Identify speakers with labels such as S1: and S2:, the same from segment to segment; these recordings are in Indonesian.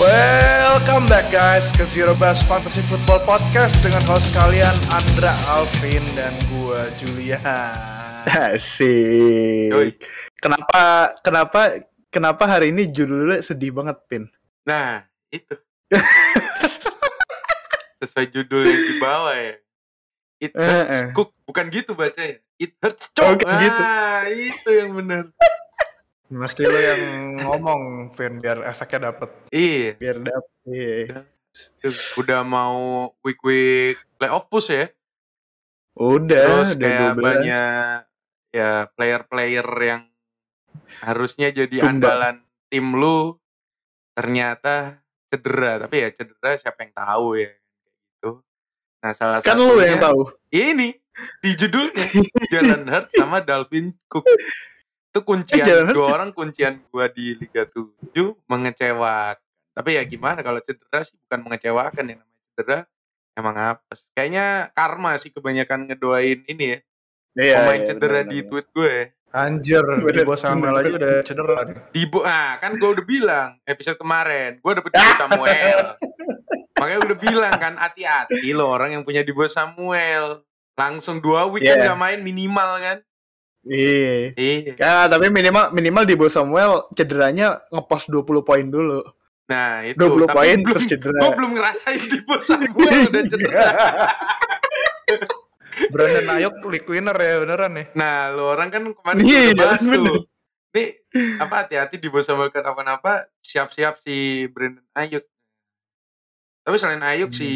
S1: Welcome back guys ke Zero Best Fantasy Football Podcast dengan host kalian Andra Alvin dan gua Julian.
S2: Asik.
S3: Yoi.
S2: Kenapa kenapa kenapa hari ini judulnya sedih banget, Pin?
S3: Nah, itu. Sesuai judul yang di bawah ya. It hurts
S2: Eh, eh.
S3: cook. Bukan gitu bacanya. It hurts cook.
S2: Oh, gitu.
S3: Ah, itu yang benar.
S1: Mesti lo yang ngomong Vin biar efeknya dapet.
S3: Iya.
S2: Biar dapet.
S3: itu Udah mau week-week playoff push ya.
S2: Eh, Udah,
S3: Terus
S2: udah
S3: kayak
S2: 12.
S3: banyak ya player-player yang harusnya jadi
S2: Tunda.
S3: andalan tim lu ternyata cedera tapi ya cedera siapa yang tahu ya gitu nah salah
S2: Kan
S3: satunya
S2: lu yang tahu.
S3: Ya ini di judulnya Jalan Hurt sama Dalvin Cook. Itu kuncian
S2: Eh, Jalen Hurts
S3: dua
S2: juga-
S3: orang kuncian gua di Liga 7 mengecewakan. Tapi ya gimana kalau cedera sih bukan mengecewakan ya namanya cedera emang apa Kayaknya karma sih kebanyakan ngedoain ini ya.
S2: Iya,
S3: pemain
S2: iya,
S3: cedera
S2: benar,
S3: di
S2: benar.
S3: tweet gue.
S1: Anjir, di
S2: Bener,
S1: bos Samuel
S2: bener.
S1: aja udah cedera nih.
S3: Dibo ah kan gua udah bilang episode kemarin gua dapet Dibo Samuel. Makanya gua udah bilang kan hati-hati lo orang yang punya Dibo Samuel. Langsung dua week
S2: Yeah.
S3: kan gak main minimal kan.
S2: Iya.
S3: Iya.
S2: Ya, tapi minimal minimal di bawah Samuel cederanya ngepost 20 poin dulu.
S3: Nah itu
S2: 20
S3: Tapi
S2: poin
S3: belum,
S2: terus Iya. cedera.
S3: Gue belum ngerasain di bos gue udah cedera
S1: Brandon Ayuk league winner ya beneran nih.
S3: Nah lu orang kan kemarin udah
S2: Iya, iya,
S3: bahas
S2: bener.
S3: tuh Nih apa hati-hati di bos sama kenapa-napa Siap-siap si Brandon Ayuk Tapi selain Ayuk
S2: Hmm.
S3: si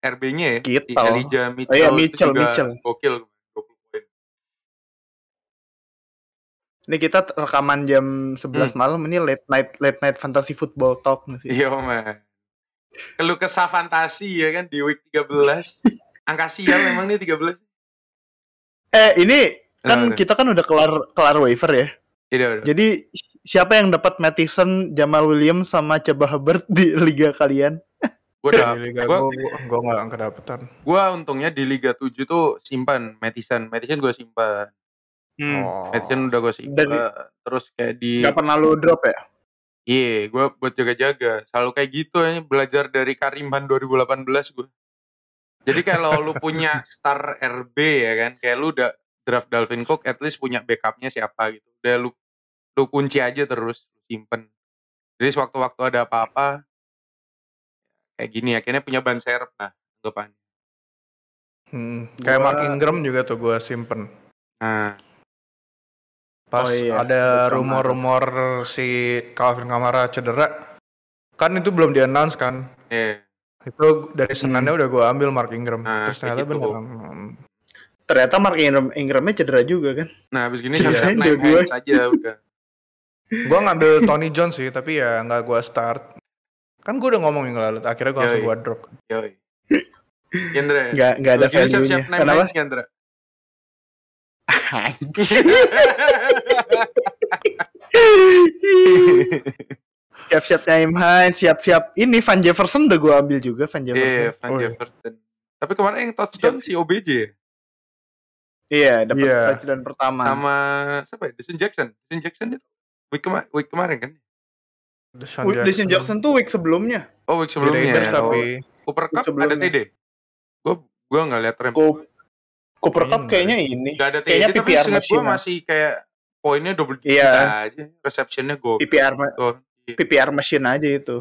S3: RB-nya ya
S2: Gitu.
S3: Si Elijah Mitchell,
S2: Oh iya,
S3: itu
S2: Mitchell,
S3: juga
S2: Mitchell.
S3: Gokil 20 poin
S2: Ini kita rekaman jam 11 malam ini late night late night fantasy football talk nih sih.
S3: Hmm. Iya man Kalau kesah fantasi ya kan di week 13 Angka sial memang nih 13
S2: Eh, ini kan
S3: Kenapa?
S2: kita kan udah kelar kelar waiver ya.
S3: Iya udah
S2: Jadi si- siapa yang dapat Mattison, Jamal Williams sama Coba Hubbard di liga kalian?
S3: Gue
S1: Di Iya, liga
S3: Iya, Gua-
S1: gua gua enggak kedapetan.
S3: gua untungnya di Liga 7 tuh simpan Madison. Madison gua simpan. Hmm.
S1: Oh.
S3: Madison udah gua simpan. Terus kayak di
S2: Gak pernah lu drop ya?
S3: Iya, gua buat jaga-jaga. Selalu kayak gitu ya, belajar dari Karimhan 2018 gua. Jadi kalau lu punya star RB ya kan, kayak lu udah draft Dalvin Cook at least punya backupnya siapa gitu. Udah lu lu kunci aja terus lu simpen. Jadi sewaktu-waktu ada apa-apa kayak gini akhirnya punya ban serep nah anggapannya.
S1: Hmm. Kayak
S2: Gua-
S1: Mark Ingram juga tuh gua simpen.
S3: Nah,
S1: Pas
S2: Oh iya,
S1: ada
S2: Kamara.
S1: rumor-rumor si Calvin Kamara cedera, kan itu belum di-announce kan.
S3: iya.
S1: itu dari senannya udah gue ambil Mark Ingram
S3: Hmm. Nah,
S1: terus ternyata
S3: kayak gitu.
S1: beneran Hmm.
S2: Ternyata Mark Ingram, Ingramnya cedera juga kan?
S3: Nah, abis gini
S2: Iya,
S3: siap
S2: iya,
S3: naik
S2: gue.
S3: Heinz aja udah.
S1: gue ngambil Tony Jones sih tapi ya nggak gue start kan gue udah ngomong minggu lalu akhirnya gue langsung
S3: Yoi.
S1: gue drop
S3: Yoi. Yandra,
S2: Nggak nggak ada
S3: abis gini
S2: value-nya.
S3: siap-siap naik
S2: Kenapa?
S3: Heinz, Yandra.
S2: Anjing.
S1: Iya,
S2: siap-siap naim Hines, siap-siap ini Van Jefferson udah gua ambil juga Van
S3: Iya,
S2: Jefferson.
S3: Van
S1: Oh, iya.
S3: Jefferson. Tapi kemarin yang touchdown si OBJ ya?
S2: Iya, dapat
S1: Iya.
S2: touchdown pertama.
S3: sama siapa ya? Deson Jackson. Deson Jackson itu week, kema- week kemarin kan?
S1: Deshaun
S2: Wi- Deshaun Jackson tuh week sebelumnya.
S3: Oh, week
S1: di
S3: sebelumnya.
S1: Raiders
S3: ya.
S1: tapi
S3: Oh, Cooper Cup ada
S2: sebelumnya.
S3: TD. Gue gua nggak lihat rem.
S2: Ko- Cooper Cup
S1: Iya,
S2: kayaknya ini.
S3: Gak ada TD,
S2: Kayaknya
S3: tapi
S2: PPR
S3: seingat gue
S2: machine.
S3: masih kayak poinnya double digit
S2: Iya.
S3: aja. Receptionnya
S1: Iya,
S3: gue.
S2: PPR ma- PPR machine aja itu.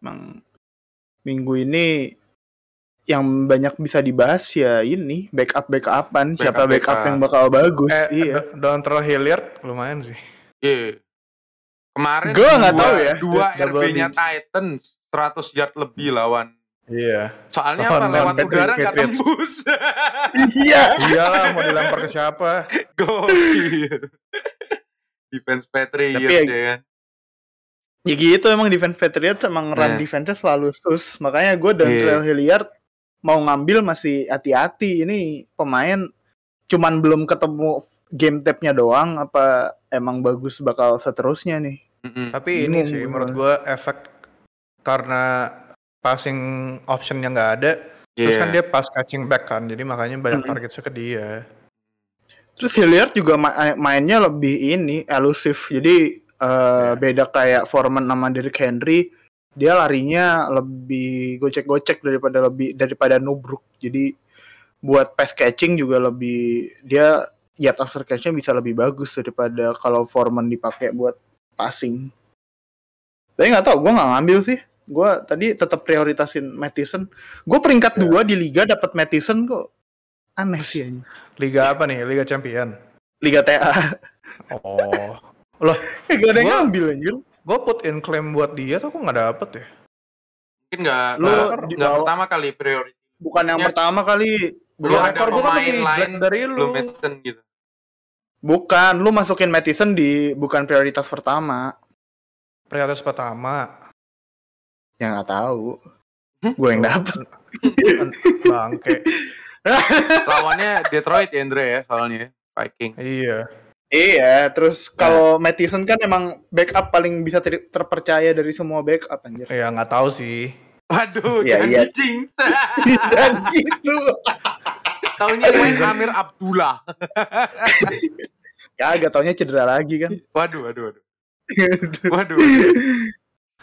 S2: Emang minggu ini yang banyak bisa dibahas ya ini backup backupan siapa
S3: Backup-backup.
S2: backup yang bakal bagus
S1: eh
S2: iya
S1: Do- Dontrell Hilliard lumayan sih
S3: Iya. Kemarin
S2: Gua nggak
S3: dua-
S2: tahu ya.
S3: Dua
S1: Double
S3: RB-nya
S1: digit.
S3: Titans 100 yard
S2: Hmm.
S3: lebih lawan.
S1: iya
S3: Soalnya
S2: Oh,
S1: Lawan-
S3: apa lewat
S1: lawan
S3: udara nggak
S1: Patriots.
S3: tembus.
S2: iya
S1: iyalah mau dilempar ke siapa
S3: Gokil. Defense Patriots
S2: Tapi ya-
S3: ya kan.
S2: ya gitu emang defense Patriots emang run
S3: Nah.
S2: defense selalu sus makanya gue dan Trail Hilliard mau ngambil masih hati-hati ini pemain cuman belum ketemu game tapnya doang apa emang bagus bakal seterusnya nih
S3: Mm-mm.
S1: tapi ini
S2: Bingung
S1: sih
S2: gua.
S1: menurut gue efek karena passing optionnya nggak ada terus kan
S3: Iya.
S1: dia pas catching back kan jadi makanya banyak
S2: Mm-mm.
S1: targetnya ke dia
S2: eh, Terus Hilliard juga ma- mainnya lebih ini elusif. Jadi Eh, Beda kayak Foreman sama Derrick Henry, dia larinya lebih gocek-gocek daripada lebih daripada Nubruk. Jadi buat pass catching juga lebih dia yard after catch-nya bisa lebih bagus daripada kalau Foreman dipakai buat passing. Tapi nggak tahu, gue nggak ngambil sih. Gue tadi tetap prioritasin Mattison. Gue
S1: Ya.
S2: peringkat dua di liga dapat Mattison kok aneh sih. anjing.
S1: Liga apa nih? Liga Champion.
S2: Liga TA.
S1: Oh.
S2: gak ada yang
S1: Gua-
S2: ngambil anjir.
S1: gue put in claim buat dia tuh kok nggak dapet ya?
S3: Mungkin nggak
S2: Lu
S3: nggak-
S2: di
S3: nggak
S2: bawah-
S3: pertama kali priority
S2: Bukan yang
S3: Ya.
S2: pertama kali.
S3: Lu
S1: Ya,
S3: ada
S1: rekor gue kan
S3: pemain
S1: lebih jelek
S3: lain
S1: dari lu.
S3: belum mention gitu.
S2: Bukan, lu masukin Mattison di bukan prioritas pertama.
S1: Prioritas pertama.
S2: Ya nggak tahu.
S3: Hmm?
S2: Gue yang dapet.
S1: kan Bangke.
S3: Lawannya Detroit ya Andre ya soalnya Viking.
S1: iya.
S2: Iya, terus kalau Mattison kan emang backup paling bisa ter- terpercaya dari semua backup anjir.
S1: Ya nggak tahu sih.
S3: Waduh,
S2: Iya,
S3: jangan
S2: iya.
S3: jinx.
S2: Dan gitu.
S3: Tahunnya main Amir Abdullah.
S2: Kagak taunya cedera lagi kan.
S3: Waduh, waduh, waduh. Waduh. waduh.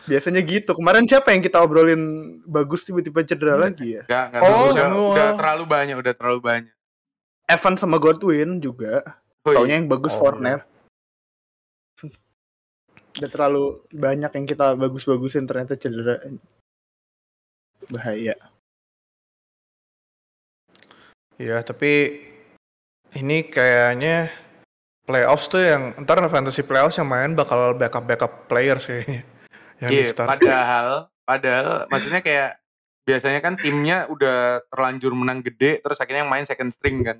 S2: Biasanya gitu. Kemarin siapa yang kita obrolin bagus tiba-tiba cedera lagi ya?
S3: Gak, gak,
S1: Oh,
S3: udah,
S1: Samuel.
S3: udah terlalu banyak, udah terlalu banyak.
S2: Evan sama Godwin juga.
S3: Hui.
S2: Taunya yang bagus
S1: Oh,
S2: Fortnite. Udah terlalu banyak yang kita bagus-bagusin ternyata cedera. Bahaya.
S1: Iya, tapi ini kayaknya playoffs tuh yang ntar fantasy playoffs yang main bakal backup backup player sih yang di
S3: Iya,
S1: start.
S3: padahal, padahal maksudnya kayak biasanya kan timnya udah terlanjur menang gede, terus akhirnya yang main second string kan.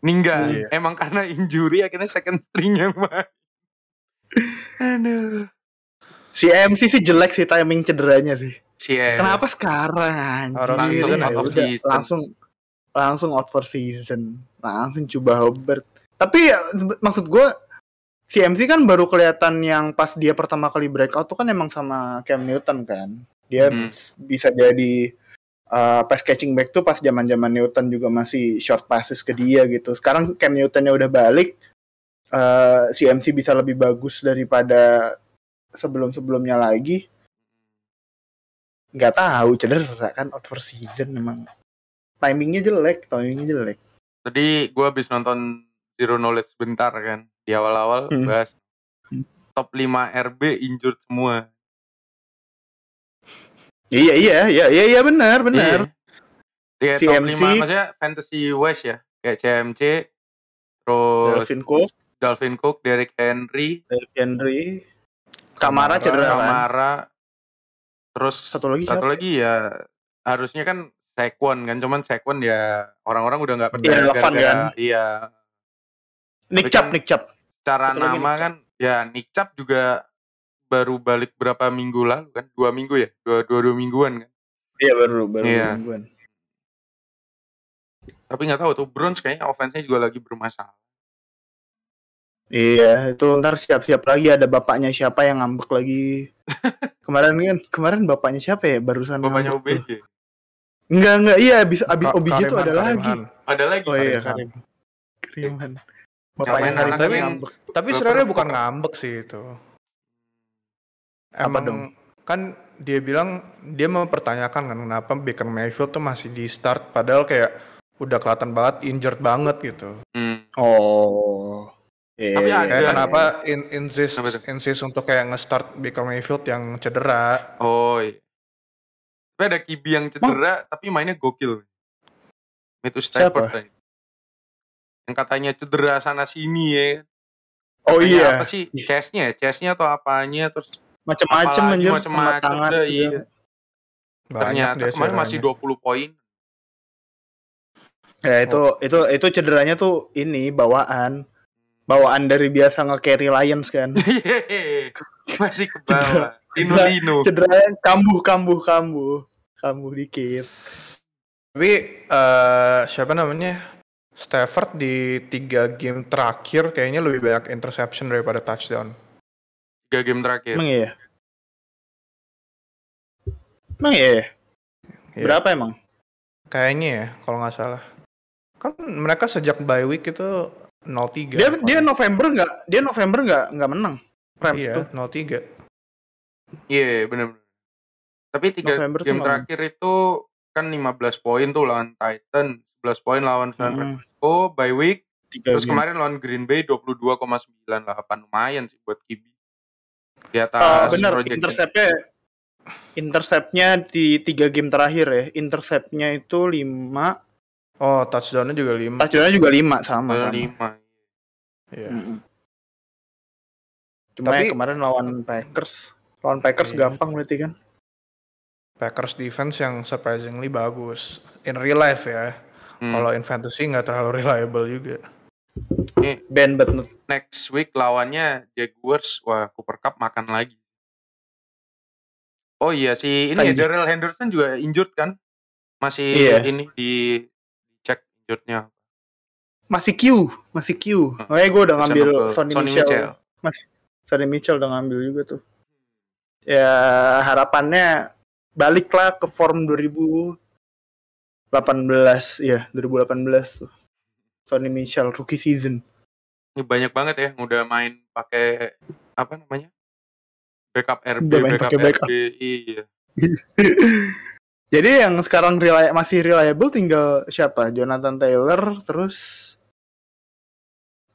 S3: Ini enggak,
S1: Iya.
S3: emang karena injury akhirnya second string yang main. Aduh.
S2: Si MC sih jelek sih timing cederanya sih.
S3: Cie.
S2: Kenapa sekarang anjir?
S1: Out of season,
S2: Ya
S1: out
S3: of
S2: udah,
S3: season.
S2: langsung langsung out for season. Langsung coba Hobart. Tapi ya, sebe- maksud gua si MC kan baru kelihatan yang pas dia pertama kali breakout tuh kan emang sama Cam Newton kan. Dia
S3: Hmm.
S2: bis- bisa jadi uh, pass catching back tuh pas zaman-zaman Newton juga masih short passes ke dia gitu. Sekarang Cam Newtonnya udah balik eh si MC bisa lebih bagus daripada sebelum-sebelumnya lagi nggak tahu cedera kan out for season memang timingnya jelek timingnya jelek
S3: Tadi gue habis nonton Zero Knowledge bentar kan. Di awal-awal
S2: Hmm.
S3: bahas
S2: Hmm.
S3: top 5 RB injured semua.
S2: iya iya iya iya iya benar benar
S3: Iya. Iya,
S2: Si
S3: top
S2: MC.
S3: 5 maksudnya Fantasy West ya. Kayak CMC, terus
S2: Delvin Cook
S3: Dalvin Cook, Derrick Henry,
S2: Derrick Henry Kamara cedera kan
S3: Kamara, terus
S2: satu lagi
S3: satu
S2: siapa
S3: lagi ya harusnya kan Sekwon kan, cuman Sekwon ya orang-orang udah nggak
S2: Iya,
S3: percaya
S2: relevan
S3: gara-gara-
S2: kan?
S3: iya.
S2: Nick Chubb Nick Chubb
S3: Cara
S2: Satu lagi
S3: nama
S2: Nick
S3: kan, ya Nick Chubb juga baru balik berapa minggu lalu kan, dua minggu ya, dua dua, dua mingguan kan.
S2: iya baru baru
S3: Iya.
S2: mingguan.
S3: Tapi nggak tahu tuh Browns kayaknya offense-nya juga lagi bermasalah.
S2: Iya, itu ntar siap-siap lagi ada bapaknya siapa yang ngambek lagi. kemarin kan, kemarin bapaknya siapa ya barusan?
S3: Bapaknya
S2: ngambek tuh.
S3: OBJ.
S2: Enggak, enggak. Iya, abis abis
S1: Ka-
S2: OBJ itu
S1: Kariman,
S2: ada lagi.
S1: Kariman.
S3: Ada lagi.
S2: Oh iya,
S1: Kariman.
S2: Karim. Kariman. Bapaknya
S1: Kariman,
S2: Karim
S1: tapi-
S2: ngambek.
S1: Tapi
S3: Gua
S1: sebenarnya
S3: pernah
S1: bukan
S3: suka.
S1: ngambek sih itu.
S2: Apa
S1: Emang
S2: dong?
S1: kan dia bilang dia mempertanyakan kan kenapa Baker Mayfield tuh masih di start padahal kayak udah kelihatan banget injured banget gitu.
S3: Hmm.
S2: Oh. Iya,
S3: Tapi
S2: iya,
S3: ada-
S2: iya.
S1: Kayak kenapa in, insist
S3: Apa tuh?
S1: insist untuk kayak nge-start Baker Mayfield yang cedera.
S3: Oh iya. Tapi ada Kibi yang cedera tapi mainnya gokil. Itu Stafford tadi. Yang katanya cedera sana sini ya.
S2: Oh
S3: Katanya
S2: iya,
S3: ya, Apa sih? Chestnya, chestnya atau apanya terus
S2: macam-macam
S3: apalagi,
S2: anjir sama
S3: macem-macem
S2: tangan.
S3: dah,
S2: segala.
S3: iya.
S1: Banyak
S3: ternyata
S1: dia
S3: kemarin masih
S1: cederanya.
S3: 20 poin.
S2: Ya itu itu itu cederanya tuh ini bawaan. Bawaan dari biasa nge-carry Lions kan.
S3: Hehehe. masih ke bawah. Lino Lino.
S2: Cederanya kambuh kambuh kambuh. Kambuh dikit.
S1: Tapi eh siapa namanya? Stafford di tiga game terakhir kayaknya lebih banyak interception daripada touchdown.
S3: 3 game terakhir.
S2: Emang iya? Emang iya? ya?
S1: Iya.
S2: Berapa emang?
S1: Kayaknya ya, kalau nggak salah. Kan mereka sejak bye week itu ya, 0-3.
S2: Dia dia November nggak? Dia November nggak nggak menang. Rams tuh.
S1: Iya, 03.
S3: Iya, bener benar. Tapi tiga
S2: November tuh
S3: game
S2: malam.
S3: terakhir itu kan 15 poin tuh lawan Titan, 11 poin lawan San
S2: Mm-mm.
S3: Francisco by week.
S2: Hmm. Tiga
S3: Nah, Terus
S2: game.
S3: kemarin lawan Green Bay 22,98 lumayan sih buat Kibi. Di atas
S2: Eh, bener,
S3: projection.
S2: interceptnya interceptnya di tiga game terakhir ya. Interceptnya itu lima,
S1: Oh, touchdown-nya juga 5.
S2: touchdownnya juga lima sama.
S3: Ke
S2: sama.
S3: lima.
S1: Iya.
S2: Mm-mm. Cuma
S1: Tapi-
S2: ya kemarin lawan Packers, lawan Packers
S1: Iya.
S2: gampang berarti kan?
S1: Packers defense yang surprisingly bagus. In real life ya.
S3: Hmm.
S1: Kalau in fantasy nggak terlalu reliable juga.
S2: Ben but not-
S3: next week lawannya Jaguars, wah Cooper Cup makan lagi. Oh iya si ini ya,
S2: Tadi.
S3: Darrell Henderson juga injured kan? Masih
S2: Iya.
S3: ini di dicek injurednya.
S2: masih Q, masih Q. Makanya gue udah ngambil
S3: Cenopel-
S2: Sonny, Michel. Mas, Sonny Michel udah ngambil juga tuh. Ya harapannya baliklah ke form 2018 ya 2018 tuh. Sonny Michel rookie season.
S3: Ini banyak banget ya yang udah main pakai apa namanya? Backup RB,
S2: Udah main
S3: backup
S2: pakai backup.
S3: RB. Iya.
S2: Jadi yang sekarang reli- masih reliable tinggal siapa? Jonathan Taylor terus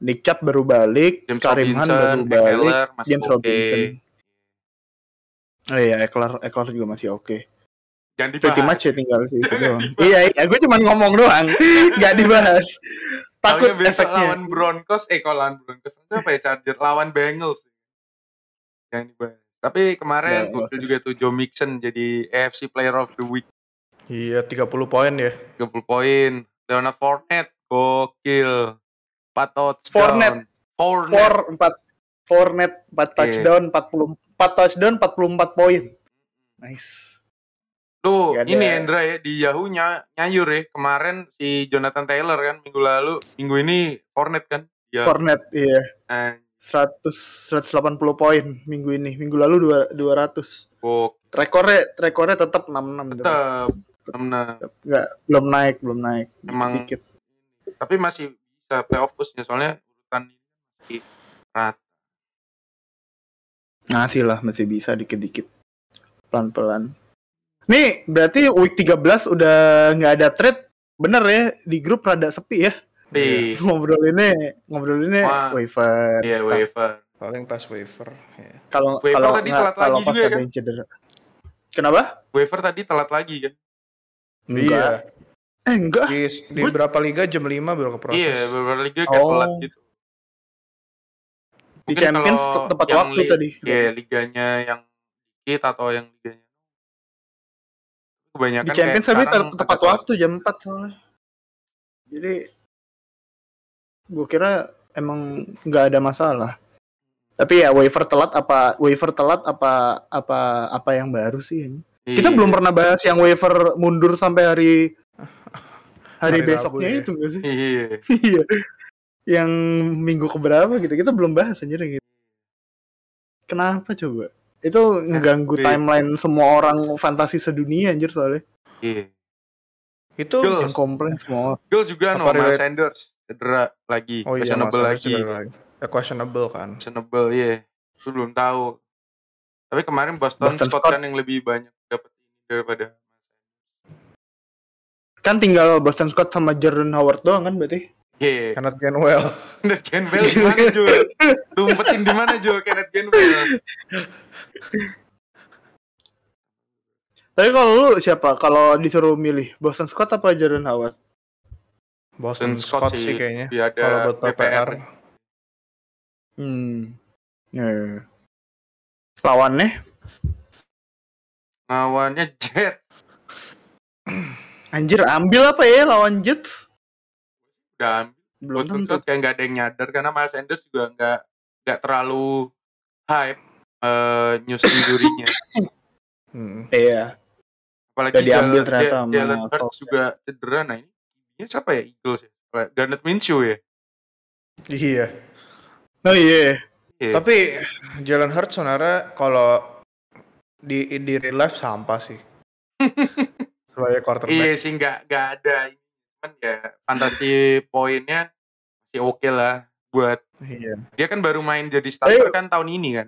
S2: Nick Chubb baru balik,
S3: James
S2: Karim Hunt
S3: Robinson,
S2: baru balik.
S3: Eckler masih
S2: James
S3: oke.
S2: Robinson. Oh iya, Eckler, Eckler juga masih oke.
S3: Jangan
S2: Pretty
S3: dibahas.
S2: much ya tinggal sih itu doang. iya, iya, gue cuma ngomong doang, nggak dibahas. Takut
S3: Soalnya besok
S2: efeknya.
S3: lawan Broncos, eh kalau lawan Broncos itu apa ya Charger lawan Bengals. Yang dibahas. Tapi
S2: Ya,
S3: kemarin
S2: offense.
S3: muncul juga tuh Joe Mixon jadi AFC Player of the Week
S1: Iya, 30 poin ya.
S3: 30 poin. Leonard Fournette gokil. 4 touchdown.
S2: Fournette. Four
S3: Fournette.
S2: empat, four net, empat
S3: Iya.
S2: touchdown, empat puluh, empat touchdown, empat puluh empat poin. Nice.
S3: Lu
S2: Gak ada.
S3: ini Hendra ya di Yahoo nya nyayur ya kemarin si Jonathan Taylor kan minggu lalu minggu ini Fournette kan. Ya.
S2: Four net, iya.
S3: Nah,
S2: Seratus, seratus delapan puluh poin minggu ini. Minggu lalu dua, dua ratus.
S3: gokil.
S2: Rekornya, rekornya tetap enam enam.
S3: Tetep. Temen-
S2: Nggak, belum naik, belum naik.
S3: Emang
S2: Dikit.
S3: tapi masih bisa playoff pushnya soalnya urutan ini masih rata.
S2: Ngasih lah masih bisa dikit-dikit. Pelan-pelan. Nih, berarti week 13 udah nggak ada trade. Bener ya, di grup rada sepi ya.
S3: Tapi
S2: Ngobrolinnya, ngobrolinnya
S3: Iya. Wah.
S2: waiver.
S3: ya
S2: stuff.
S3: waiver.
S1: Paling pas waiver. Ya.
S2: Kalau
S3: Waiver
S2: kalau
S3: tadi
S2: nggak-
S3: telat
S2: kalau
S3: lagi
S2: pas
S3: juga
S2: ada
S3: kan?
S2: yang cedera. Kenapa?
S3: Waiver tadi telat lagi kan?
S1: Iya.
S2: Eh, enggak.
S1: Di, di
S2: Gue-
S1: berapa liga jam 5 baru ke proses.
S3: Iya, beberapa liga kayak
S2: Oh.
S3: telat gitu.
S2: Di
S3: Mungkin
S2: Champions
S3: kalau
S2: te- tepat
S3: yang
S2: waktu
S3: li-
S2: tadi.
S3: Iya, liganya yang dikit atau yang liganya kebanyakan
S2: di
S3: Ya kan
S2: Champions
S3: kayak
S2: tapi
S3: sekarang
S2: te- tepat
S3: agak
S2: waktu jam 4 soalnya. Jadi gue kira emang nggak ada masalah. Tapi ya waiver telat apa waiver telat apa apa apa yang baru sih ini.
S3: telat.
S2: Kita
S3: Iya.
S2: belum pernah bahas yang waiver mundur sampai hari hari,
S1: Hari
S2: besoknya
S1: Rabu ya.
S2: itu nggak sih?
S3: Iya.
S2: Iya. yang minggu keberapa gitu kita belum bahas anjir yang gitu. Kenapa coba? Itu ngeganggu
S3: Tapi-
S2: timeline semua orang fantasi sedunia anjir soalnya.
S3: Iya.
S1: Itu
S3: Gil-
S2: Yang komplain semua orang.
S3: Gil juga no
S1: Apa
S3: Miles
S1: relate-
S3: Sanders cedera lagi,
S1: Oh iya,
S3: questionable
S1: masalah
S3: lagi.
S1: cedera lagi. Ya, questionable kan.
S3: Questionable, iya. Itu belum tahu. Tapi kemarin Boston,
S2: Boston
S3: Scott
S2: Scott.
S3: kan yang lebih banyak dapat ini daripada
S2: Kan tinggal Boston Scott sama Jordan Howard doang kan berarti.
S3: Iya.
S1: Kenneth Gainwell.
S3: Kenneth Gainwell di mana Jul? Lu umpetin di mana Jul Kenneth Gainwell?
S2: Tapi kalau lu siapa? Kalau disuruh milih Boston Scott apa Jordan Howard?
S1: Boston Scott, sih kayaknya.
S3: Dia ada
S1: Kalau buat
S3: Iya, PPR.
S1: PPR.
S2: Hmm. Ya. Lawannya
S3: Lawannya Jet.
S2: anjir ambil apa ya lawan Jets?
S3: Udah ambil.
S2: Belum
S3: Boston
S2: tentu.
S3: Scott kayak nggak ada yang nyadar karena Miles Sanders juga nggak nggak terlalu hype eh news injury-nya.
S1: Hmm.
S2: Iya.
S3: Apalagi
S2: Udah diambil
S3: Jalen-
S2: ternyata
S3: Ja-
S2: sama
S3: Jalen Hurts
S2: Colts.
S3: juga cedera. Nah ini ini siapa ya Eagles ya? Garnet Minshew ya.
S1: Iya.
S2: Oh iya.
S3: Iya.
S1: Tapi Jalen Hurts sebenarnya kalau di di real life sampah sih. Sebagai
S3: Iya
S1: quarterback.
S3: sih nggak nggak ada ini. Cuman ya fantasi poinnya masih oke lah. buat
S1: Iya.
S3: dia kan baru main jadi
S2: Eh.
S3: starter kan tahun ini kan.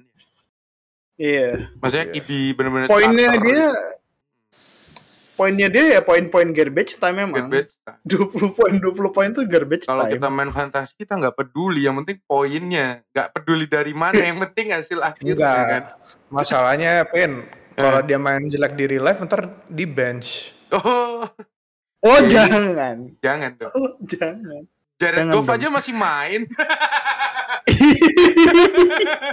S2: Iya.
S3: Maksudnya
S1: Iya.
S3: Ibi bener-bener gitu,
S2: Poinnya
S3: starter.
S2: dia poinnya dia ya poin-poin garbage time
S3: Get
S2: memang.
S3: bad.
S2: 20 poin 20 poin tuh garbage
S3: Kalau
S2: time.
S3: kita main fantasi kita nggak peduli, yang penting poinnya. Nggak peduli dari mana, yang penting hasil akhirnya
S1: Enggak.
S3: kan. Eh.
S1: Masalahnya Pin, kalau dia main jelek di real life ntar di bench.
S3: Oh,
S2: Oh,
S3: Jadi-
S2: jangan.
S3: jangan dong.
S2: Oh, jangan.
S3: Jared
S2: Jangan
S3: Goff
S2: dong.
S3: aja masih main.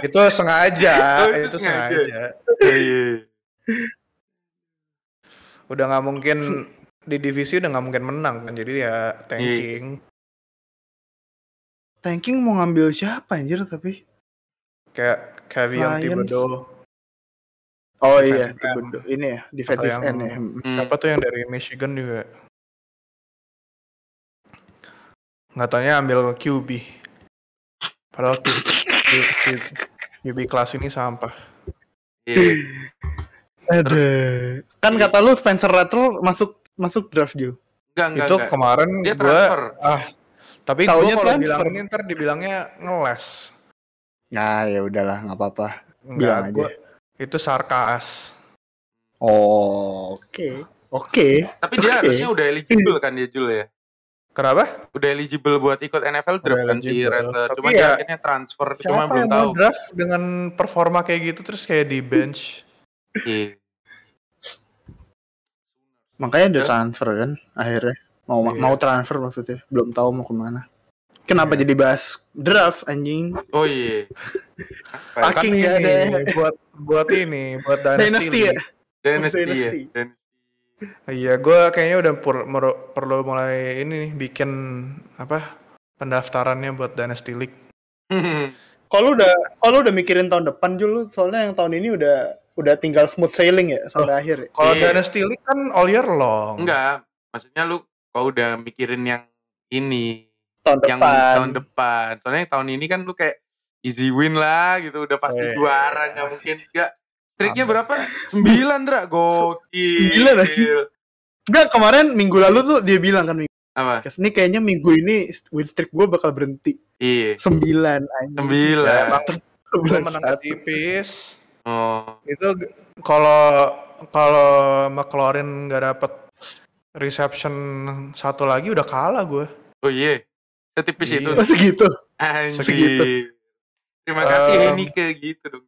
S1: Itu sengaja,
S3: Oh, Eh. itu
S1: itu
S3: sengaja.
S1: sengaja.
S3: Iya.
S1: Udah nggak mungkin di divisi udah nggak mungkin menang kan. Jadi ya
S3: Iya.
S1: tanking.
S2: Tanking mau ngambil siapa anjir tapi?
S1: Kayak Kavion
S2: Lions.
S1: Thibodeau.
S2: Oh
S1: Defensive
S2: iya,
S1: end.
S2: Thibodeau. ini ya, defensive
S1: yang-
S2: end ya. Hmm.
S3: Hmm.
S1: Siapa tuh yang dari Michigan juga? Katanya ambil QB. Padahal Q- Q- Q- QB kelas ini sampah.
S3: Iya.
S2: Ada. Kan kata lu Spencer Rattler masuk masuk draft deal.
S3: Enggak, enggak,
S1: itu
S3: enggak.
S1: kemarin
S3: Dia
S1: gue
S3: transfer.
S1: ah tapi gue
S2: Taunya
S1: kalau
S2: transfer.
S1: bilang ini ntar dibilangnya ngeles
S2: Nah, ya udahlah, nggak apa-apa. Bilang
S1: enggak
S2: aja.
S1: gue itu sarkas
S2: Oh, oke. Oke.
S3: Tapi dia
S2: Oke.
S3: harusnya udah eligible kan dia Jul ya.
S1: kenapa
S3: Udah eligible buat ikut NFL draft
S1: Udah
S3: kan si
S1: eligible.
S3: Rattler.
S1: Tapi
S3: Cuma
S1: ya,
S3: dia akhirnya transfer, cuma
S1: siapa
S3: belum
S1: yang
S3: tahu.
S1: mau draft dengan performa kayak gitu terus kayak di bench
S3: Iya.
S2: Makanya udah
S3: Terus?
S2: transfer kan akhirnya. Mau
S1: Iya.
S2: mau transfer maksudnya, belum tahu mau kemana. Kenapa jadi bahas draft anjing?
S3: Oh iya.
S1: Kan
S2: Fucking
S1: ini
S2: gak ada.
S1: buat buat ini buat
S2: Dynasty
S1: dynasty
S2: ya?
S1: league.
S3: Dynasty ya.
S2: Dynasty.
S3: Dynasty.
S1: iya gue kayaknya udah per- mer- perlu mulai ini nih bikin apa pendaftarannya buat dynasty league
S2: Kalau udah kalau udah mikirin tahun depan Jul, lu, soalnya yang tahun ini udah udah tinggal smooth sailing ya sampai akhir. Ya.
S1: kalau
S3: Iya.
S1: dynasty league kan all year
S2: Oh.
S1: long
S3: Enggak, maksudnya lu kau udah mikirin yang ini,
S2: Tahun
S3: yang
S2: depan.
S3: tahun depan. Soalnya yang tahun ini kan lu kayak easy win lah gitu, udah pasti
S1: Eh.
S3: juara, nggak mungkin enggak. Streaknya
S1: Amin.
S3: berapa? Sembilan, Dra. Gokil.
S2: Sembilan, anjing. Enggak, kemarin minggu lalu tuh dia bilang kan minggu
S3: Apa?
S2: ini kayaknya minggu ini win streak gue bakal berhenti.
S3: Iya.
S2: Sembilan anjing.
S1: ya,
S3: Sembilan.
S1: emang gue
S2: Sembilan
S1: menang
S2: saat.
S1: tipis
S3: Oh.
S1: itu g- kalau kalau McLaurin nggak dapet reception satu lagi udah kalah gue
S3: Oh iya. Setipis
S1: Iya.
S3: itu.
S2: Oh segitu. Segitu.
S3: Anjir. Terima kasih
S1: Um,
S3: Henike gitu dong.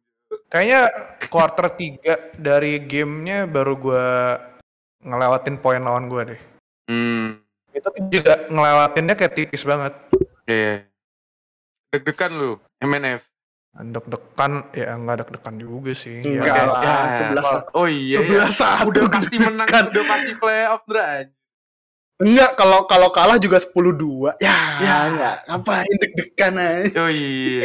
S1: kayaknya quarter 3 dari gamenya baru gue ngelewatin poin lawan gue deh
S3: Hmm.
S1: itu juga ngelewatinnya kayak tipis banget
S3: Iya. Deg-degan lu, MNF.
S1: deg-degan ya nggak deg-degan juga sih Ya,
S2: Enggak lah,
S3: Ya.
S2: Ah, sebelas satu.
S3: Oh iya. iya.
S2: Sebelas satu.
S3: udah pasti menang,
S2: deg-degan.
S3: udah pasti playoff Dra.
S2: Enggak, kalau kalau kalah juga 10-2. Ya,
S3: Ya.
S2: ya enggak. Ngapain deg-degan aja.
S3: Oh iya.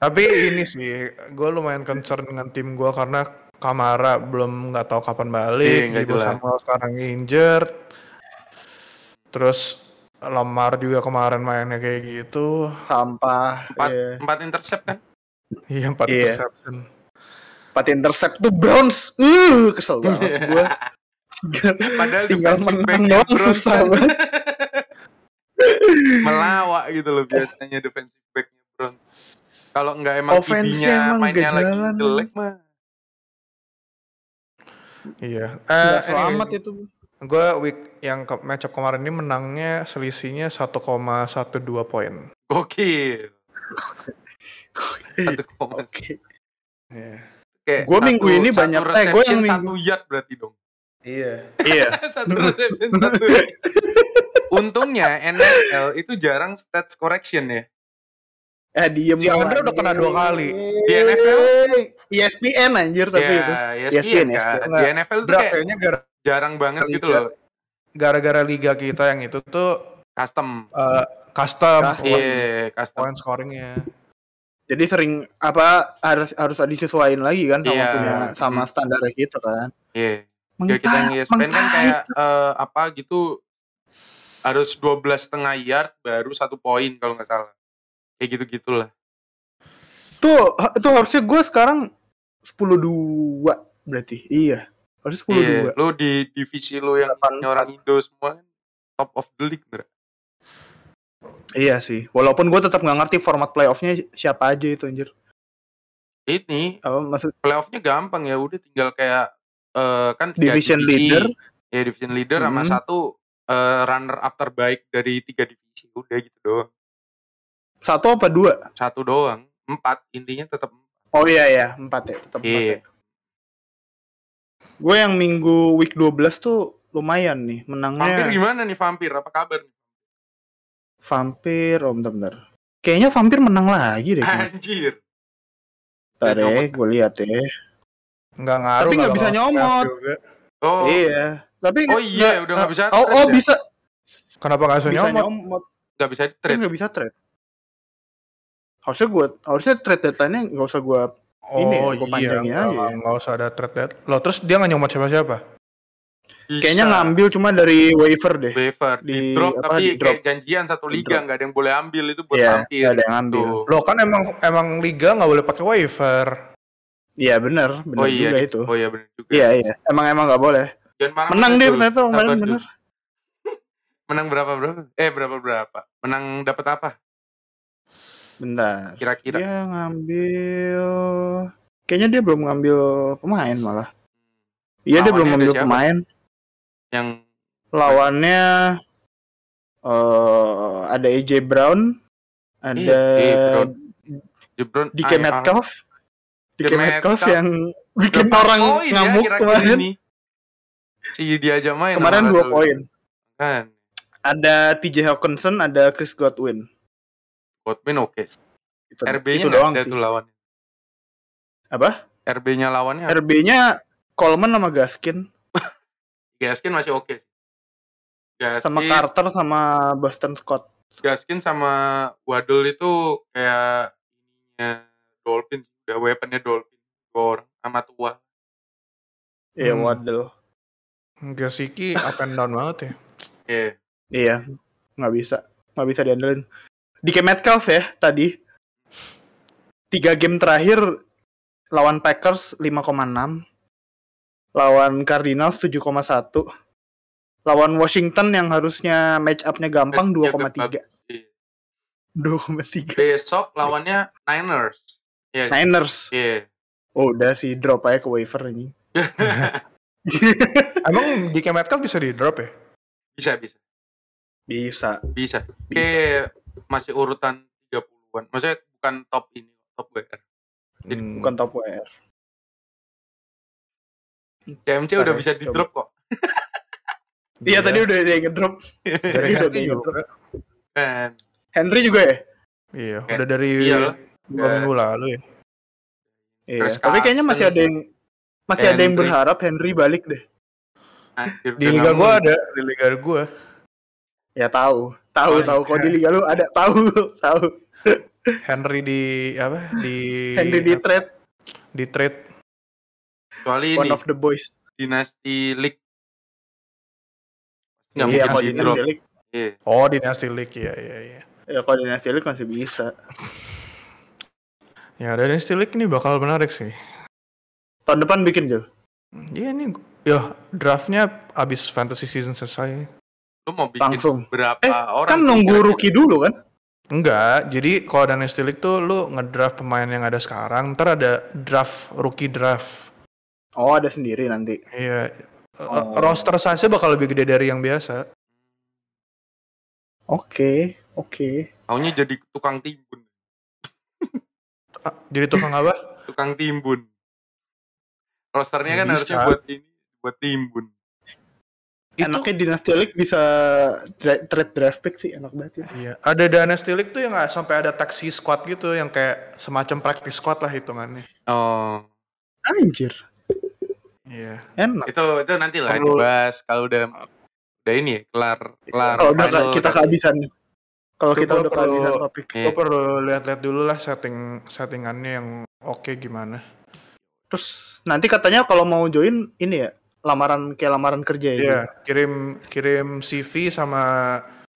S1: tapi ini sih gue lumayan concern dengan tim gue karena Kamara belum nggak tahu kapan
S3: Iya,
S1: balik,
S3: nggak
S1: Dibo
S3: jelas.
S1: Samuel sekarang injured, terus Lamar juga kemarin mainnya kayak gitu,
S2: Sampah.
S3: Empat,
S2: Iya.
S3: empat intercept kan?
S1: iya empat
S2: Iya.
S1: interception.
S2: Empat intercept tuh Browns. Uh, kesel banget gua.
S3: Padahal
S2: Tinggal
S3: defensive
S2: menang
S3: back-nya
S2: doang
S3: Browns
S2: susah
S3: kan
S2: banget.
S3: Melawak gitu loh biasanya defensive backnya Browns. Kalau nggak emang
S2: Offense-nya
S3: kibinya
S2: emang
S3: mainnya
S2: nggak
S3: lagi
S2: jalan.
S3: jelek mah.
S1: Iya.
S2: Nggak
S1: Eh,
S2: selamat ya. itu.
S1: gue week yang ke match up kemarin ini menangnya selisihnya 1,12 poin.
S3: Gokil. Satu koma.
S2: Oke.
S1: Iya.
S3: Kayak
S2: Gua
S3: satu-
S2: minggu ini
S3: satu
S2: banyak- eh, gua yang
S3: reception,
S2: minggu-
S3: satu yard berarti dong.
S1: Iya.
S2: Iya.
S3: satu reception satu. yard. Untungnya NFL itu jarang stats correction ya.
S2: Eh diem. Iya. E
S1: Si Andre
S2: doang.
S1: udah kena dua kali.
S3: Di NFL?
S2: ESPN anjir tapi
S3: ya,
S2: itu.
S3: ESPN,
S2: ESPN,
S3: kan.
S1: ESPN.
S3: Di NFL tuh
S1: Drak,
S3: kayak
S2: ya.
S1: kayaknya gara-
S3: jarang banget gitu
S1: Liga.
S3: loh.
S1: gara-gara liga kita yang itu tuh
S3: Custom.
S1: eh, custom
S2: Custom.
S1: poin-
S3: Iya, custom.
S1: poin scoringnya.
S2: Jadi sering apa harus harus disesuaikan lagi kan sama
S3: Iya.
S2: punya sama standar gitu kan.
S3: Iya.
S2: Mengta-
S3: Kayak kita yang ESPN kan
S2: mengtai.
S3: kayak eh, apa gitu harus 12 setengah yard baru satu poin kalau nggak salah. Kayak gitu-gitulah.
S2: Tuh, ha- itu harusnya gue sekarang 10-2 berarti. Iya. Harusnya 10-2.
S3: Iya, lu di divisi lu yang
S2: 84.
S3: orang Indo semua kan top of the league, Ndra.
S2: Iya sih. Walaupun gue tetap nggak ngerti format playoffnya siapa aja itu anjir.
S3: Ini
S2: Apa maksud
S3: playoffnya gampang ya, udah tinggal kayak eh, kan tiga
S2: division
S3: divisi.
S2: leader?
S3: ya division leader sama
S2: Hmm.
S3: satu eh, runner up terbaik dari tiga divisi udah gitu doang.
S2: Satu apa dua?
S3: Satu doang, empat intinya tetap
S2: Oh iya ya, empat ya, tetap empat
S3: Iya.
S2: ya. Gue yang minggu week 12 tuh lumayan nih
S3: Vampir
S2: menangnya.
S3: gimana nih vampir? Apa kabar? nih?
S2: Vampir, om oh, bentar, bentar. Kayaknya vampir menang lagi deh. kayaknya.
S3: Anjir.
S2: Bentar
S3: Dia
S2: ya,
S3: nyomot.
S2: gue lihat ya.
S1: Nggak ngaruh.
S2: Tapi nggak bisa
S1: bakal
S2: nyomot.
S1: juga.
S3: Oh,
S2: Iya. Tapi
S3: oh iya, udah nggak
S2: eh,
S3: bisa
S2: Oh,
S3: trade
S2: oh
S3: ya?
S2: bisa
S1: Kenapa nggak bisa
S2: bisa
S1: nyomot?
S2: nyomot.
S3: nggak bisa di
S2: Tapi
S3: trade.
S2: nggak bisa trade. Harusnya gue harusnya trade deadline-nya nggak usah gue Ini ya,
S1: Oh
S2: gua
S1: iya,
S2: panjangin
S1: nggak-
S2: aja ya.
S1: nggak usah ada threat dead. Loh terus dia nggak nyomot siapa-siapa?
S2: kayaknya ngambil cuma dari waiver deh.
S3: waiver di,
S2: di-
S3: drop
S2: apa,
S3: tapi
S2: di drop.
S3: kayak janjian satu
S2: Di
S3: liga
S2: drop.
S3: nggak ada yang boleh ambil itu buat
S2: Iya,
S3: vampir.
S2: nggak ada yang ambil.
S3: Tuh.
S1: Loh kan emang emang liga nggak boleh pakai waiver.
S2: Iya benar, benar
S3: Oh iya,
S2: juga itu.
S3: oh iya benar juga.
S2: Iya iya, emang emang nggak boleh.
S3: Jangan marah
S2: Menang dia
S3: Dul.
S2: ternyata kemarin
S3: Sabar, Dul.
S2: bener.
S3: Menang berapa berapa? Eh berapa berapa? Menang dapat apa?
S2: Bentar.
S3: Kira-kira?
S2: Dia ngambil kayaknya dia belum ngambil pemain malah. Iya dia
S3: Lawannya
S2: belum
S3: ada
S2: ngambil
S3: siapa?
S2: pemain.
S3: Yang
S2: Lawannya eh ada AJ Brown, ada
S3: Iya, AJ Brown. Jebron ah,
S2: DK
S3: IR.
S2: Metcalf. DK
S3: DK
S2: Metcalf
S3: Metcalf.
S2: yang bikin
S3: Berapa
S2: orang
S3: poin ya
S2: ngamuk
S3: kira-kira
S2: kemarin.
S3: ini? Si dia aja main
S2: Kemarin
S3: sama
S2: dua
S3: Russell
S2: poin.
S3: Wilson. Kan.
S2: Ada TJ Hawkinson, ada Chris Godwin.
S3: Godwin oke.
S2: Itu,
S3: RB-nya Iya
S2: itu
S3: nggak
S2: doang
S3: ada
S2: sih.
S3: tuh lawannya.
S2: Apa?
S3: RB-nya lawannya
S2: RB-nya Coleman sama Gaskin,
S3: Gaskin masih oke. Gaskin,
S2: sama Carter sama Boston Scott.
S3: Gaskin sama Waddle itu kayak ininya Dolphin udah weaponnya Dolphin Gor sama tua
S2: Iya,
S1: Hmm.
S2: Waddle.
S1: Gasicki up and down banget ya.
S3: Iya.
S2: Iya, nggak bisa, nggak bisa diandelin. Di Metcalf ya tadi. Tiga game terakhir lawan Packers 5,6, lawan Cardinals 7,1, lawan Washington yang harusnya match up-nya gampang
S3: Match-nya
S2: 2,3.
S3: Iya.
S2: 2,3.
S3: besok lawannya Niners iya
S2: Niners.
S3: iya
S2: Oh, udah sih drop aja ke waiver ini.
S1: Emang di Metcalf bisa di drop ya?
S3: bisa bisa
S2: Bisa.
S3: bisa
S2: Bisa.
S3: Oke, masih urutan 30-an maksudnya bukan top ini top WR
S1: Hmm.
S2: Bukan top WR.
S3: CMC
S2: Bentar
S3: udah
S2: ya,
S3: bisa di
S2: coba.
S3: drop kok
S2: Iya tadi udah dia ngedrop.
S1: dari
S2: Iya,
S1: Henry
S2: iya.
S1: juga.
S3: kan
S2: Henry juga ya?
S1: Iya,
S3: Kayak-
S1: udah dari
S3: iyalah.
S1: dua
S3: Udah.
S1: minggu lalu ya.
S2: Iya.
S3: Chris
S2: Tapi kayaknya masih
S3: Carson.
S2: ada yang masih ada yang
S3: Henry.
S2: berharap Henry balik deh.
S3: Anjir,
S1: Di
S3: udah
S1: liga
S3: ngambung.
S1: gua ada, di liga gua.
S2: Ya tahu. Tahu
S3: Anjir.
S2: tahu kalau di liga lu ada tahu tahu.
S1: Henry di apa? Di
S2: Henry di trade
S1: di trade.
S3: kecuali ini
S2: one of the boys.
S3: dinasti league nggak
S2: Iya,
S3: mungkin
S2: kalau
S3: di
S2: di
S3: drop
S2: Nasty League,
S3: Iya.
S1: Oh, di Nasty League. Iya, iya, iya.
S2: ya kalau di Nasty League masih bisa.
S1: Ya, dari Nasty League ini bakal menarik sih.
S2: Tahun depan bikin Jul.
S1: Iya ini ya draftnya abis fantasy season selesai.
S3: lu mau bikin
S2: Langsung.
S3: berapa
S2: Eh,
S3: orang
S2: Kan
S3: sih
S2: nunggu
S3: kira-kira?
S2: rookie dulu kan?
S1: Enggak, jadi kalau ada Nasty League tuh lu ngedraft pemain yang ada sekarang, ntar ada draft rookie draft.
S2: Oh, ada sendiri nanti.
S1: Iya, eh,
S2: Oh.
S1: roster size-nya bakal lebih gede dari yang biasa.
S2: Oke, oke.
S3: Taunya jadi tukang timbun
S1: Ah, jadi tukang apa?
S3: tukang timbun rosternya
S1: Ya
S3: kan
S1: bisa.
S3: harusnya buat ini buat timbun
S1: itu
S2: Enaknya Dynasty League bisa dra- trade draft pick sih, enak banget sih.
S1: iya. Ada Dynasty League tuh yang nggak sampai ada taxi squad gitu yang kayak semacam practice squad lah hitungannya.
S3: oh
S2: Anjir,
S1: Iya.
S2: enak.
S3: itu itu nanti lah
S1: Perlu-
S3: dibahas kalau udah udah ini ya, kelar kelar
S2: Kalau Oh, udah
S3: final
S2: kita
S3: kan.
S2: kehabisan nih. Kalau
S1: Itu
S2: kita
S1: gua
S2: udah
S1: perlu-
S2: kehabisan topik.
S3: Iya.
S1: Gua perlu lihat-lihat dulu lah setting settingannya yang oke gimana.
S2: Terus nanti katanya kalau mau join ini ya lamaran kayak lamaran kerja ya.
S1: Iya, kirim kirim CV sama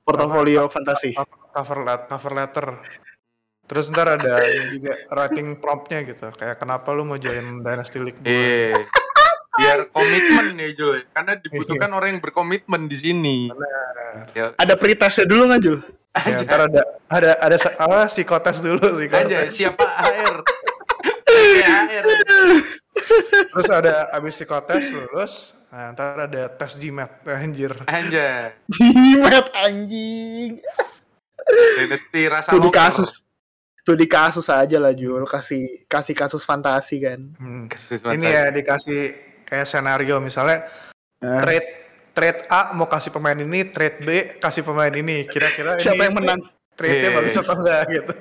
S2: Portofolio fantasi.
S1: Iya. cover let- cover letter terus ntar ada ini juga writing promptnya gitu kayak kenapa lu mau join Dynasty League gua?
S3: eh biar komitmen ya Jul
S2: Iya.
S3: ya. karena dibutuhkan orang yang berkomitmen di sini
S2: Ada pretestnya dulu nggak Jul?
S1: Ya, ntar ada ada ada sa- apa psikotes dulu
S3: Aja
S1: psikotes.
S3: siapa AR? Kayak AR.
S1: Terus ada abis psikotes lulus, nah, ntar ada tes GMAT anjir.
S3: Anjay.
S2: Jimat anjing.
S3: Dynasty rasa
S2: Itu di
S3: loker.
S2: kasus. Itu di kasus aja lah Jul, kasih kasih kasus fantasi kan.
S1: Hmm.
S3: Kasus
S1: Ini
S3: mantap.
S1: ya dikasih kayak senario misalnya
S2: Nah,
S1: trade trade A mau kasih pemain ini, trade B kasih pemain ini. Kira-kira
S2: siapa
S1: ini
S2: yang menang?
S1: Trade-nya
S3: Iya.
S1: bagus apa enggak gitu.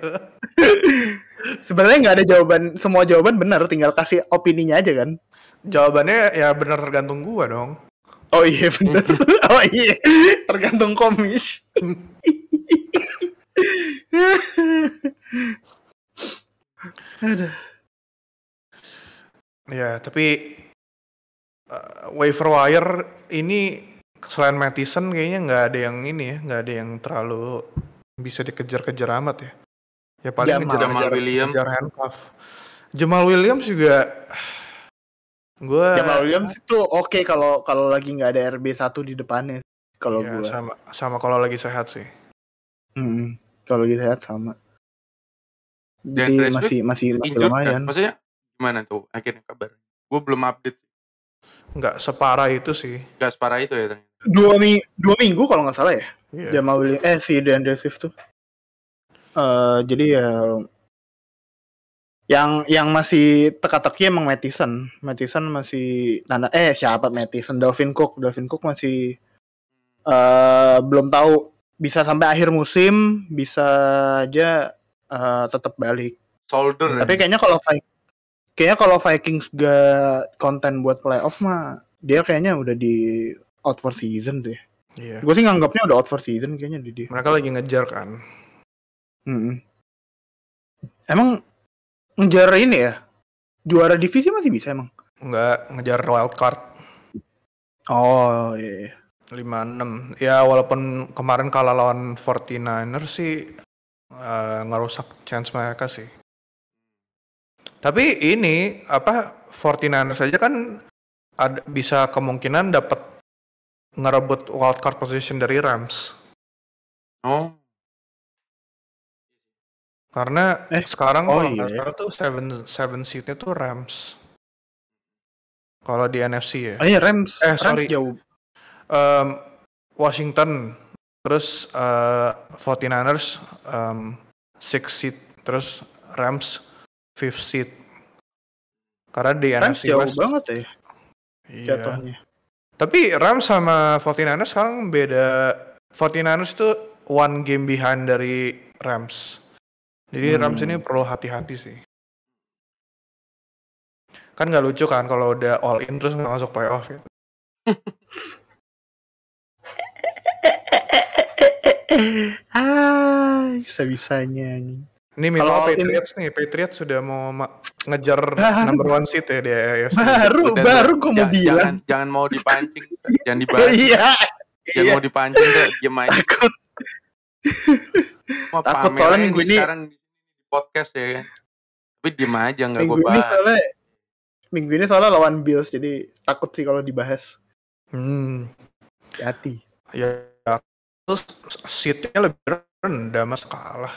S2: Sebenarnya nggak ada jawaban, semua jawaban benar, tinggal kasih opininya aja kan.
S1: Jawabannya ya benar tergantung gua dong.
S2: Oh iya benar. oh iya, tergantung komis.
S1: Ya, tapi uh, waiver wire ini selain Mattison kayaknya nggak ada yang ini ya, nggak ada yang terlalu bisa dikejar-kejar amat ya. Ya paling
S2: Jamal.
S1: ngejar,
S3: Jamal
S1: ngejar,
S3: Williams.
S1: ngejar handcuff. Jamal Williams juga gue
S2: Jamal Williams itu oke kalau kalau lagi nggak ada RB 1 di depannya. Kalau
S1: ya,
S2: gua,
S1: sama sama kalau lagi sehat sih.
S2: Mm-mm. kalau lagi sehat sama. Jadi
S3: Dresden
S2: masih masih masih
S3: Injured kan?
S2: lumayan.
S3: Maksudnya gimana tuh akhirnya kabar? Gue belum update.
S1: Nggak separah itu sih.
S3: Gak separah itu ya ternyata.
S2: Dua, mi- dua minggu kalau nggak salah ya.
S1: Iya.
S2: Jamal Williams eh si DeAndre Swift tuh. Eh jadi ya yang yang masih teka-teki emang Mattison. Mattison masih tanda eh siapa Mattison? Dalvin Cook. Dalvin Cook masih eh belum tahu bisa sampai akhir musim bisa aja eh, tetap balik.
S3: Solder.
S2: Tapi kayaknya kalau Vi- kayaknya kalau Vikings gak konten buat playoff mah dia kayaknya udah di out for season deh.
S1: Iya.
S2: Gue sih nganggapnya udah out for season kayaknya di dia.
S1: Mereka lagi ngejar kan.
S2: Mm-mm. Emang ngejar ini ya? Juara divisi masih bisa emang?
S1: Nggak ngejar wild card
S2: Oh iya. iya.
S1: 56. Ya walaupun kemarin kalah lawan 49er sih eh, ngerusak chance mereka sih. Tapi ini apa 49ers saja kan ada, bisa kemungkinan dapat ngerebut wildcard position dari Rams
S3: Oh.
S1: karena
S2: Eh,
S1: sekarang
S2: oh
S1: kalau nggak
S2: iya.
S1: salah tuh seven seven seatnya tuh Rams kalau di NFC ya
S2: Oh iya Rams,
S1: Eh,
S2: Rams
S1: sorry.
S2: jauh.
S1: Em, Washington terus eh, 49ers em, six seat terus Rams fifth seat karena di NFC
S2: Rams jauh
S1: West
S2: banget ya
S1: iya.
S2: jatuhnya.
S1: tapi Rams sama 49ers sekarang beda 49ers itu one game behind dari Rams jadi Rams
S2: Hmm.
S1: ini perlu hati-hati sih kan nggak lucu kan kalau udah all in terus nggak masuk playoff gitu.
S2: ah, bisa-bisanya nih.
S1: Ini minimal
S2: Kalau all in-
S1: Patriots nih, Patriots sudah mau ma- ngejar
S2: Baru.
S1: number one seat ya di AFC.
S2: Baru
S3: Udah,
S2: baru
S3: udah.
S2: gue mau
S3: Ja-
S2: bilang.
S3: Jangan, jangan mau dipancing. jangan
S2: Oh,
S3: dibahas.
S2: iya.
S3: Jangan
S2: Iya,
S3: mau dipancing. Kak. Diem aja.
S2: takut.
S3: Mau
S2: Takut,
S3: pamer
S2: soalnya
S3: aja
S2: minggu
S3: nih
S2: ini-
S3: sekarang di di podcast ya kan. Tapi diem aja nggak
S2: Minggu
S3: gue
S2: ini
S3: bahas.
S2: soalnya minggu ini soalnya lawan Bills jadi takut sih kalau dibahas.
S1: Hmm,
S2: Hati.
S1: ya terus seatnya lebih rendah mas kalah.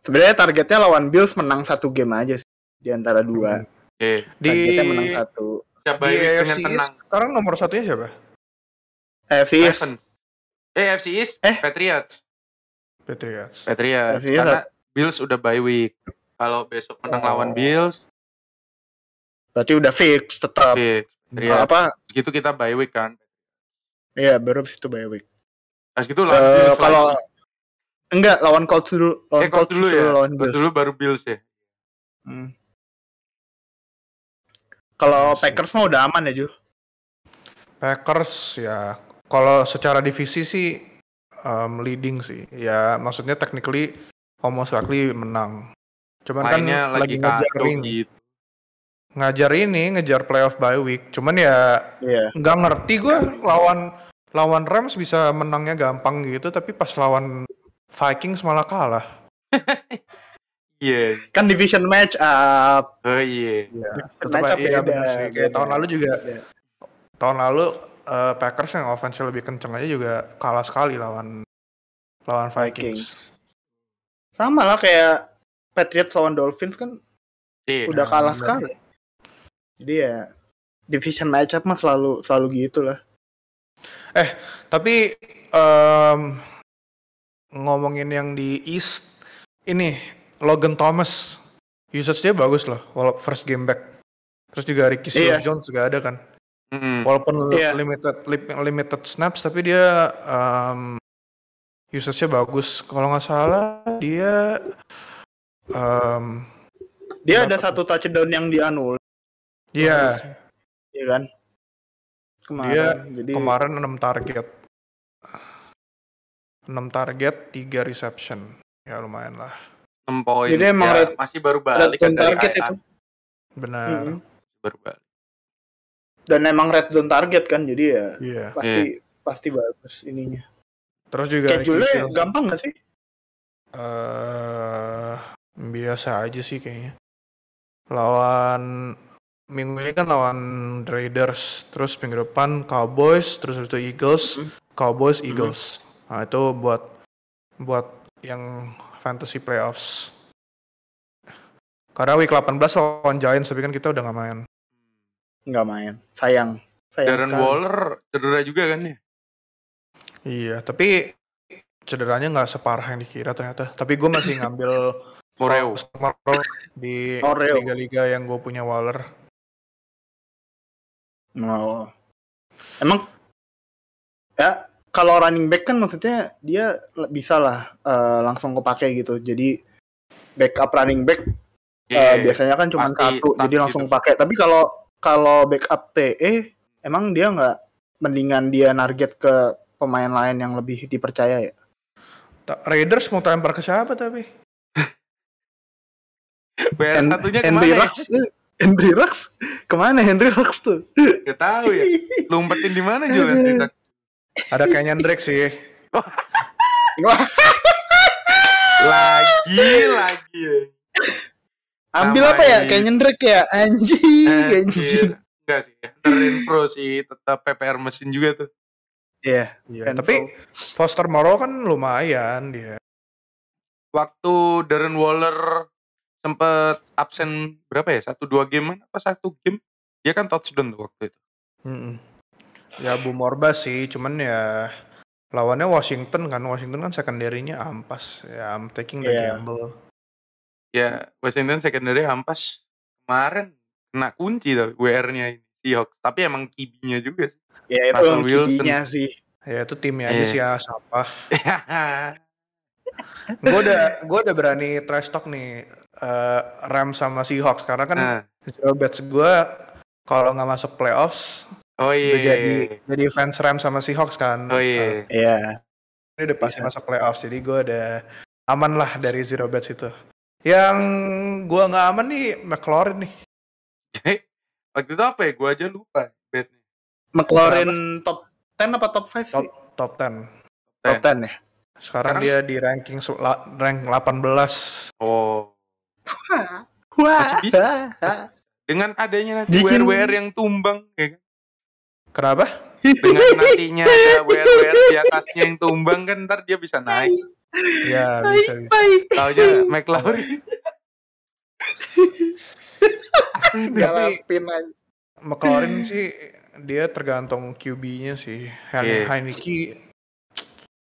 S2: Sebenarnya targetnya lawan Bills menang satu game aja sih di antara dua.
S3: Oke.
S1: Di
S2: Targetnya menang satu.
S3: Siapa
S1: di
S3: ini dengan
S1: AFC
S3: tenang?
S1: East, sekarang nomor satunya siapa?
S2: AFC East.
S3: Ravens. Eh AFC East.
S2: Eh?
S3: Patriots.
S1: Patriots.
S3: Patriots.
S2: AFC East.
S3: Karena Bills udah bye week. Kalau besok menang
S2: Oh.
S3: lawan Bills,
S2: Berarti udah fix tetap.
S3: oke.
S2: Nah,
S3: Patriots.
S2: apa?
S3: Gitu kita bye week kan.
S2: Iya, baru abis itu bye week.
S3: Pas gitu lawan
S2: Eh,
S3: Bills
S2: kalau
S3: lagi.
S2: enggak lawan Colts dulu, lawan
S3: eh Colts dulu ya.
S2: lawan
S3: Colts
S2: Bills.
S3: dulu baru Bills ya.
S2: Hmm.
S3: Iya
S2: Kalau Packers mah udah aman ya, Ju.
S1: Packers ya kalau secara divisi sih um, leading sih. Ya maksudnya technically almost likely menang. Cuman
S3: Mainnya
S1: kan lagi,
S3: lagi
S1: ngejar
S3: kacau
S1: ini,
S3: gitu.
S1: ngajar ini, ngejar playoff by week. Cuman ya
S2: Iya.
S1: nggak ngerti gue lawan lawan Rams bisa menangnya gampang gitu tapi pas lawan Vikings malah kalah
S3: Iya.
S2: Kan division match up.
S3: Oh iya.
S2: Division
S1: Tetep aja, iya, bener sih. kayak
S2: beda. Iya.
S1: tahun lalu juga
S2: Beda.
S1: tahun lalu eh, Packers yang offense lebih kenceng aja juga kalah sekali lawan lawan Vikings.
S2: Sama lah kayak Patriots lawan Dolphins kan
S3: Iya.
S2: udah
S1: Nah,
S2: kalah
S1: benar.
S2: sekali. Jadi ya division matchup mah selalu selalu gitu lah.
S1: Tapi em, ngomongin yang di East ini Logan Thomas usage dia bagus loh walau first game back. Terus juga Ricky
S2: Iya.
S1: Seals Jones juga ada kan.
S3: Mm-mm.
S1: Walaupun
S2: Iya.
S1: limited lim- limited snaps tapi dia em usage-nya bagus. Kalau nggak salah dia um, em
S3: Iya,
S2: Dia ada
S1: Dapat.
S2: satu touchdown yang dianul,
S1: iya
S2: ya kan? Kemarin.
S1: Dia
S2: jadi
S1: kemarin 6 target. 6 target, 3 reception. Ya lumayan lah.
S3: 6 poin.
S2: Jadi emang
S3: Ya,
S2: red-
S3: masih baru
S2: ada
S3: balik kan
S2: zone
S3: dari
S2: target
S3: IR,
S2: itu.
S1: Benar.
S2: Mm-mm.
S3: baru balik.
S2: Dan emang red zone target kan, jadi ya
S1: Iya.
S2: pasti pasti bagus ininya.
S1: Terus juga
S2: Schedule
S1: Ricky Seals,
S2: gampang gak sih?
S1: eh, biasa aja sih kayaknya. Lawan minggu ini kan lawan Raiders, terus minggu depan Cowboys, terus habis itu Eagles,
S2: Mhm.
S1: Cowboys, Eagles. Nah, itu buat buat yang fantasy playoffs. Karena week 18 lawan Giants, tapi kan kita udah gak main.
S2: Nggak main. Sayang. Sayang
S3: Darren
S2: sekali.
S3: Waller cedera juga kan ya?
S1: Iya, tapi cederanya nggak separah yang dikira ternyata. Tapi gue masih ngambil
S3: Moreo.
S1: Moreo di
S2: Moreo.
S1: liga-liga yang gue punya Waller.
S2: Oh. Emang ya kalau running back kan maksudnya dia le- bisa lah eh, langsung kepake gitu. Jadi backup running back eh,
S3: Iya,
S2: biasanya kan cuma
S3: pasti
S2: satu,
S3: stuck
S2: jadi langsung
S3: gitu.
S2: pakai. Tapi kalau kalau backup TE emang dia nggak mendingan dia target ke pemain lain yang lebih dipercaya ya.
S1: Ta- Raiders mau tampar ke siapa tapi?
S3: Bayar
S2: Hen-
S3: satunya kemana
S2: Henry
S3: ya?
S2: Rux, eh, Henry Rux kemana Henry Rux tuh?
S3: Gak tau ya. Lumpetin di mana Jul?
S2: Aduh.
S3: Hendry Rux?
S1: Ada Kenyan Drake sih.
S2: Wah,
S3: Lagi, lagi. ya.
S2: ambil
S3: Sama
S2: apa ya?
S3: ini.
S2: Kayak nyendrek ya,
S1: Iya,
S2: anjing, anjing.
S3: Eh, Anjir. Enggak sih. Henry Pro sih tetap PPR mesin juga tuh.
S2: Iya.
S1: Iya.
S3: Ya,
S2: Ken
S1: Tapi Foster Moreau kan lumayan dia.
S3: Waktu Darren Waller sempet absen berapa ya? Satu dua game apa satu game? Dia kan touchdown tuh waktu itu.
S1: Mm-mm. Ya Bu Morba sih, cuman ya lawannya Washington kan. Washington kan secondary-nya ampas. Ya I'm taking the
S2: Iya.
S1: gamble.
S3: Ya, Washington secondary hampas kemarin kena kunci tuh WR-nya ini Seahawks. Tapi emang kibinya juga sih.
S2: Ya itu
S3: Russell
S2: yang kibinya sih.
S1: Ya itu timnya aja
S3: Iya.
S1: sih ya, siapa. gue udah gue udah berani trash talk nih eh, Rams sama Seahawks karena kan
S3: Nah,
S1: zero bets gue kalau nggak masuk playoffs
S3: oh
S1: udah
S3: iya.
S1: jadi jadi fans Rams sama Seahawks kan
S3: Oh
S1: Eh,
S3: iya.
S1: ini
S2: Iya.
S1: udah pasti
S2: Bisa.
S1: masuk playoffs jadi gue udah aman lah dari zero bets itu yang gue nggak aman nih McLaurin nih
S3: Waktu itu apa ya? Gue aja lupa betnya.
S2: McLaren top 10 apa top 5 sih?
S1: top 10
S2: Top 10 ya.
S1: sekarang,
S3: Sekarang-
S1: dia di ranking se- la- rank 18
S3: Oh.
S2: Wah.
S3: Masih bisa. Dengan adanya nanti
S2: Bikin-
S3: WR-WR yang tumbang ya kan?
S1: kenapa
S3: Dengan nantinya ada WR-WR di atasnya yang tumbang kan ntar dia bisa naik.
S1: ya bisa bisa
S3: Tahu aja McLaurin.
S2: Galapin aja.
S1: McLaurin sih dia tergantung QB-nya sih. Heine
S3: Iya.
S1: Heineke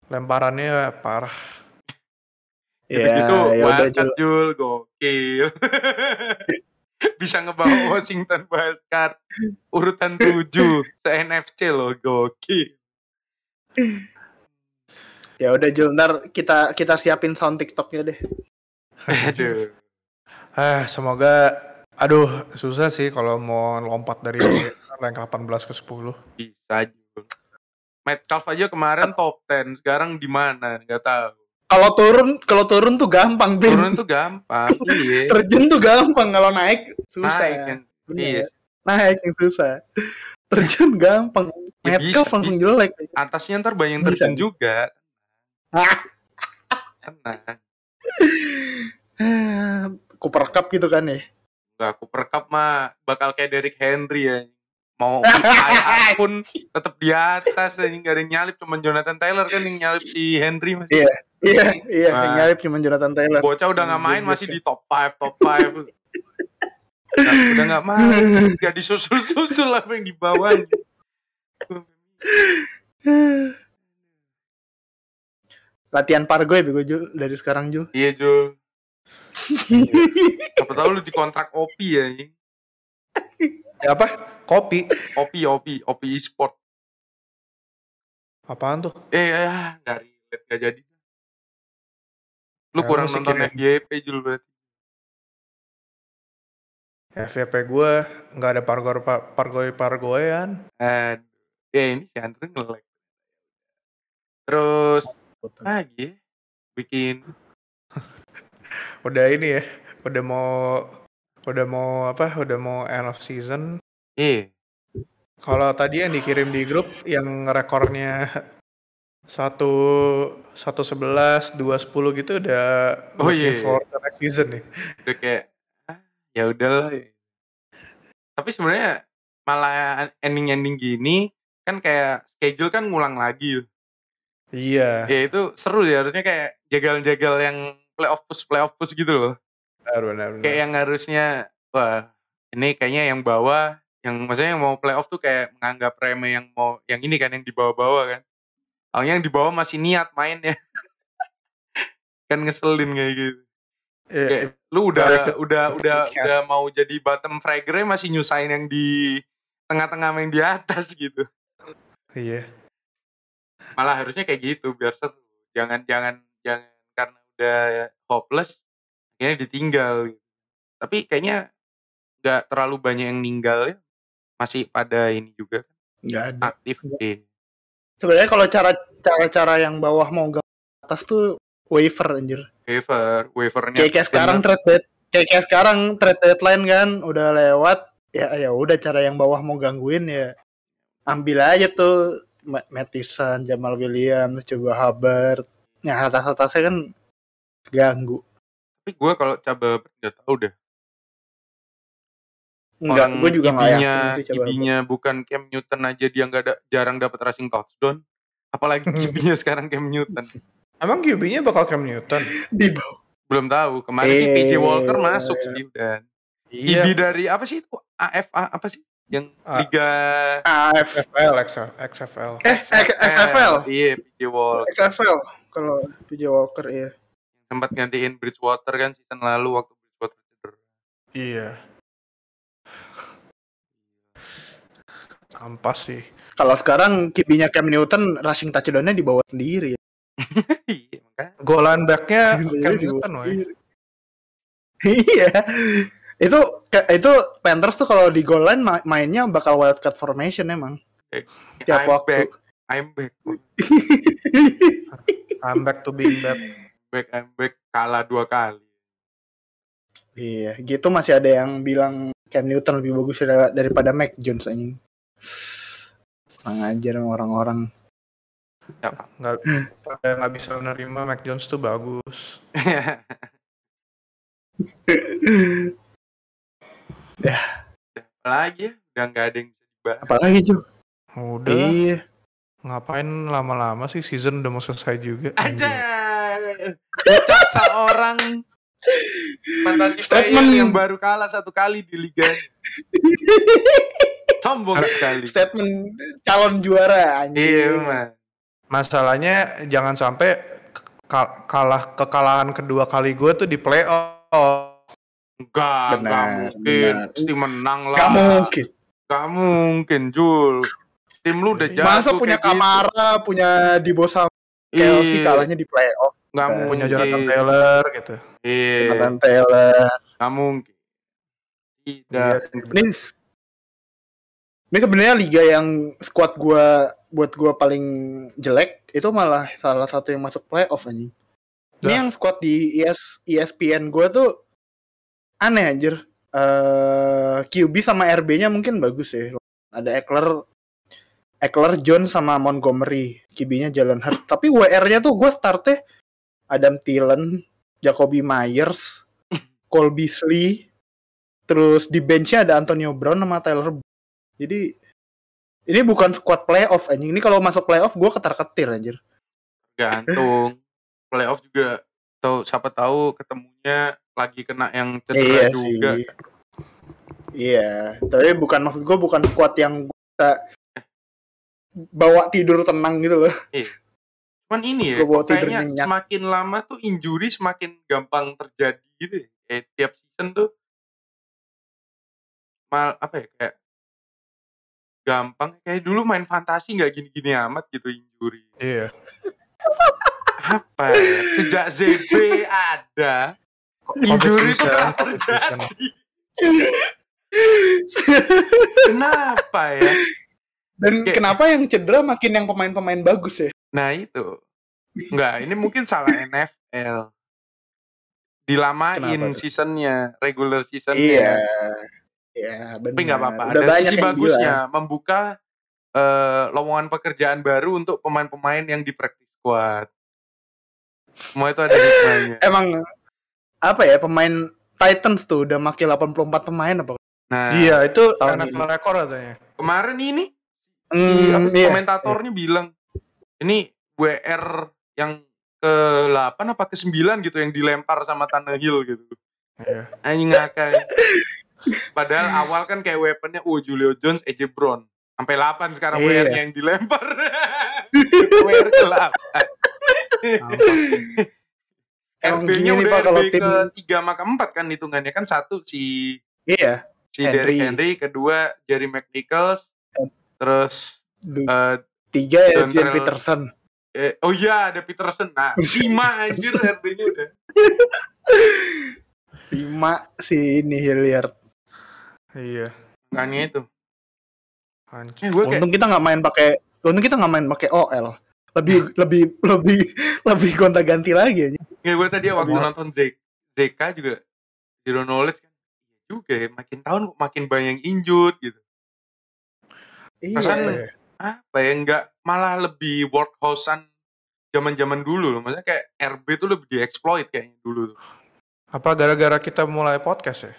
S1: lemparannya parah.
S2: Ya,
S3: gitu
S2: ya udah
S3: wildcard
S2: Jul.
S3: Jul gokil bisa ngebawa Washington wildcard urutan 7 se NFC loh gokil
S2: Ya udah Jul, ntar kita kita siapin sound TikToknya deh.
S3: aduh
S1: Ah, semoga aduh susah sih kalau mau lompat dari rank 18 ke 10.
S3: bisa Jul Metcalf aja kemarin top 10 sekarang di mana nggak tahu
S2: Kalau turun kalau turun tuh gampang, Bin.
S3: turun tuh gampang iya
S2: Terjun tuh gampang, kalau naik susah.
S3: naik kan iya
S2: Bener. ya. Naik yang susah. Terjun gampang.
S3: Ya,
S2: Metcalf
S3: bisa,
S2: langsung jelek.
S3: atasnya ntar banyak yang
S2: Bisa,
S3: terjun
S2: bisa.
S3: juga
S2: Ah.
S3: tenang
S2: Cooper Cup gitu kan ya.
S3: nggak aku perkap mah bakal kayak Derrick Henry ya mau IR pun tetap di atas anjing gak ada yang nyalip cuman Jonathan Taylor kan yang nyalip si Henry masih
S2: Iya, iya,
S3: Nah.
S2: yang nyalip cuma Jonathan Taylor.
S3: bocah udah nggak main masih di top 5 top 5 udah nggak main gak disusul susul apa yang di bawah
S2: Latihan pargo ya bego Jul dari sekarang Jul.
S3: iya Jul siapa tahu lu dikontrak OP ya anjing.
S1: Ya apa? Kopi.
S3: OP OP OP e-sport
S1: Apaan tuh?
S3: eh ya dari gak jadi lu
S1: Ya,
S3: kurang
S1: lu sih
S3: nonton
S1: kira-
S3: FYP Jul berarti
S1: FYP gue nggak ada pargor pargoi pargoyan.
S3: Eh, ya ini si Andre nge-lag terus lagi bikin
S1: Udah ini ya. Udah mau udah mau apa? Udah mau end of season.
S3: eh
S1: Kalau tadi yang dikirim di grup yang rekornya satu satu sebelas dua sepuluh gitu udah
S3: Oh,
S1: looking
S3: iya.
S1: forward to next season nih.
S3: udah kayak "Ah, ya udahlah tapi sebenarnya malah ending ending gini kan kayak schedule kan ngulang lagi yuk.
S1: Iya.
S3: ya itu seru ya harusnya kayak jagal-jagal yang playoff push playoff push gitu loh
S1: Benar benar. benar.
S3: kayak yang harusnya wah ini kayaknya yang bawah yang maksudnya yang mau playoff tuh kayak menganggap remeh yang mau yang ini kan yang di bawah-bawah kan Awalnya yang di bawah masih niat main ya kan ngeselin kayak gitu
S1: Iya,
S3: kayak lu udah
S1: Correct.
S3: udah udah
S1: Correct.
S3: udah mau jadi bottom fragger masih nyusahin yang di tengah-tengah main di atas gitu
S1: Iya.
S3: malah harusnya kayak gitu biar seru jangan jangan jangan karena udah hopeless akhirnya ditinggal gitu. tapi kayaknya nggak terlalu banyak yang ninggal ya masih pada ini juga
S2: Enggak ada.
S3: aktif Iya.
S2: Sebenarnya kalau cara cara cara yang bawah mau ke atas tuh waiver anjir.
S3: waiver waivernya
S2: Kayak kayak sekarang
S3: ya.
S2: trade dead, kayak kayak sekarang trade deadline kan udah lewat. Ya ya udah cara yang bawah mau gangguin ya ambil aja tuh Ma- Mattison, Jamal Williams, coba Hubbard. Yang atas-atasnya kan ganggu.
S3: tapi gue kalau coba nggak tahu deh
S2: Enggak,
S3: Orang
S2: gue juga nggak
S3: ibinya,
S2: yakin sih coba.
S3: ibinya bukan Cam Newton aja dia nggak ada jarang dapat rushing touchdown apalagi ibinya sekarang Cam Newton
S1: Emang QB-nya bakal Cam Newton?
S2: Di bawah.
S3: belum tahu kemarin sih
S2: Eh.
S3: PJ Walker masuk sih dan
S1: Iya.
S3: IB dari apa sih itu AFA apa sih yang
S1: A-
S3: liga
S2: AF,
S1: XFL, XFL.
S2: eh XFL,
S3: iya PJ Walker
S2: XFL kalau PJ Walker ya.
S3: sempat gantiin Bridgewater kan season lalu waktu Bridgewater cedera
S1: Iya. Ampas sih.
S2: Kalau sekarang kibinya Cam Newton rushing touchdown-nya dibawa sendiri.
S3: iya makanya
S1: Golan back-nya Cam
S2: Dibawa
S1: Newton, woy.
S2: sendiri. Iya. Itu ke- itu Panthers tuh kalau di goal line ma- mainnya bakal wildcat formation emang. Tiap
S3: I'm
S2: waktu.
S3: back I'm back
S1: I'm back to being back.
S3: back I'm back kalah dua kali
S2: iya, gitu masih ada yang bilang Cam Newton lebih bagus dar- daripada Mac Jones anjing. Kurang ajar emang orang-orang.
S1: Nggak, pada nggak bisa menerima Mac Jones tuh bagus.
S3: lagi ya udah nggak ada yang bisa dibahas
S2: Apalagi Ju?
S1: Udah,
S2: Iya.
S1: ngapain lama-lama sih season udah mau selesai juga. Iya.
S3: aja
S1: Anjir.
S3: cap seorang fantasi player
S2: Statement.
S3: yang baru kalah satu kali di liga sombong sekali
S2: Statement calon juara
S3: iya
S2: anjing.
S3: man
S1: Masalahnya jangan sampai ke- kal- kalah kekalahan kedua kali gue tuh di playoff.
S3: enggak enggak
S2: Benar,
S3: mungkin
S2: benar.
S3: pasti menang lah
S2: Gak mungkin.
S3: Nggak mungkin Jul tim lu udah jatuh
S2: Masa punya
S3: kayak
S2: Kamara, punya Dibo sama
S3: gitu.
S2: Kelsey
S3: Iya,
S2: kalahnya di playoff.
S3: nggak
S2: Eh,
S3: mungkin
S1: Punya Jonathan Taylor gitu.
S3: iya
S2: Jonathan Taylor.
S3: nggak mungkin tidak
S1: Iya sih.
S2: Ini ini sebenarnya liga yang squad gua buat gua paling jelek itu malah salah satu yang masuk playoff anjing. Ini
S1: Dah.
S2: yang squad di E ES, ESPN gua tuh aneh anjir. eh QB sama RB-nya mungkin bagus ya. Ada Eckler, Eckler, John sama Montgomery. QB-nya Jalen Hurts. Tapi WR-nya tuh gua startnya Adam Thielen, Jacoby Myers, Cole Beasley, terus di benchnya ada Antonio Brown sama Tyler. Bo- Jadi Ini bukan squad playoff anjing. Ini kalau masuk playoff gue ketar-ketir anjir.
S3: gantung playoff juga tahu siapa tahu ketemunya lagi kena yang
S2: Iya
S3: cedera juga
S2: sih. Iya, tapi bukan maksud gue bukan squad yang gua bisa bawa tidur tenang gitu loh.
S3: cuman ini ya
S2: Gua bawa tidur
S3: kayaknya
S2: nyenyak.
S3: semakin lama tuh injury semakin gampang terjadi gitu ya. kayak tiap season tuh mal apa ya kayak gampang kayak dulu main fantasi nggak gini-gini amat gitu injury
S1: Iya.
S3: apa ya? sejak ZB ada kok injury
S1: Competition,
S3: itu nggak
S1: competition.
S3: terjadi kenapa ya
S2: Dan
S3: Kayak-
S2: kenapa yang cedera makin yang pemain-pemain bagus ya?
S3: nah itu nggak ini mungkin salah NFL dilamain
S1: Kenapa tuh?
S3: seasonnya regular seasonnya
S2: Iya. Iya, benar.
S3: tapi nggak apa-apa
S2: Udah
S3: ada
S2: banyak
S3: sisi
S2: yang bilang.
S3: bagusnya membuka eh, lowongan pekerjaan baru untuk pemain-pemain yang di practice squad semua itu ada hikmahnya
S2: Emang apa ya pemain Titans tuh udah makin 84 pemain apa?
S3: nah
S1: Iya, itu
S2: Tahun
S1: NFL rekor katanya.
S3: kemarin ini si apa,
S2: Hmm,
S3: komentatornya bilang ini WR yang ke 8 apa ke 9 gitu yang dilempar sama Tannehill gitu.
S1: Iya.
S3: Anjing ngakak. ya. Padahal awal kan kayak weaponnya oh Julio Jones, AJ Brown. Sampai 8 sekarang
S2: Iya.
S3: WR yang dilempar. WR ke 8.
S2: Emang
S3: RB-nya
S2: gini,
S3: udah
S2: Pak, kalau
S3: RB ke
S2: tim-
S3: 3 sama ke 4 kan hitungannya kan satu si
S2: Iya.
S3: si Derrick
S2: Henry.
S3: Henry, kedua Jerry McNichols, terus
S2: Du-
S3: eh,
S2: tiga ya
S3: Don
S2: Adrian
S3: Terrell.
S2: Peterson.
S3: Eh, oh iya ada Peterson. Nah, lima anjir RB-nya udah.
S2: Lima si ini Hilliard.
S1: Iya.
S3: Makanya itu.
S1: Hancur.
S3: Eh, gue kayak
S2: Untung kita nggak main pakai untung kita nggak main pakai OL. Lebih lebih lebih lebih gonta-ganti lagi aja.
S3: kayak gue tadi waktu
S1: Gua-
S3: nonton Z- ZK juga zero knowledge kan. Iya Juga ya, makin tahun kok makin banyak yang injured gitu.
S2: Kan
S3: Perasaan-
S1: Iya.
S3: Apa ya enggak malah lebih workhorse-an zaman-zaman dulu loh. Maksudnya kayak RB tuh lebih dieksploit kayaknya dulu tuh.
S1: Apa gara-gara kita mulai podcast ya?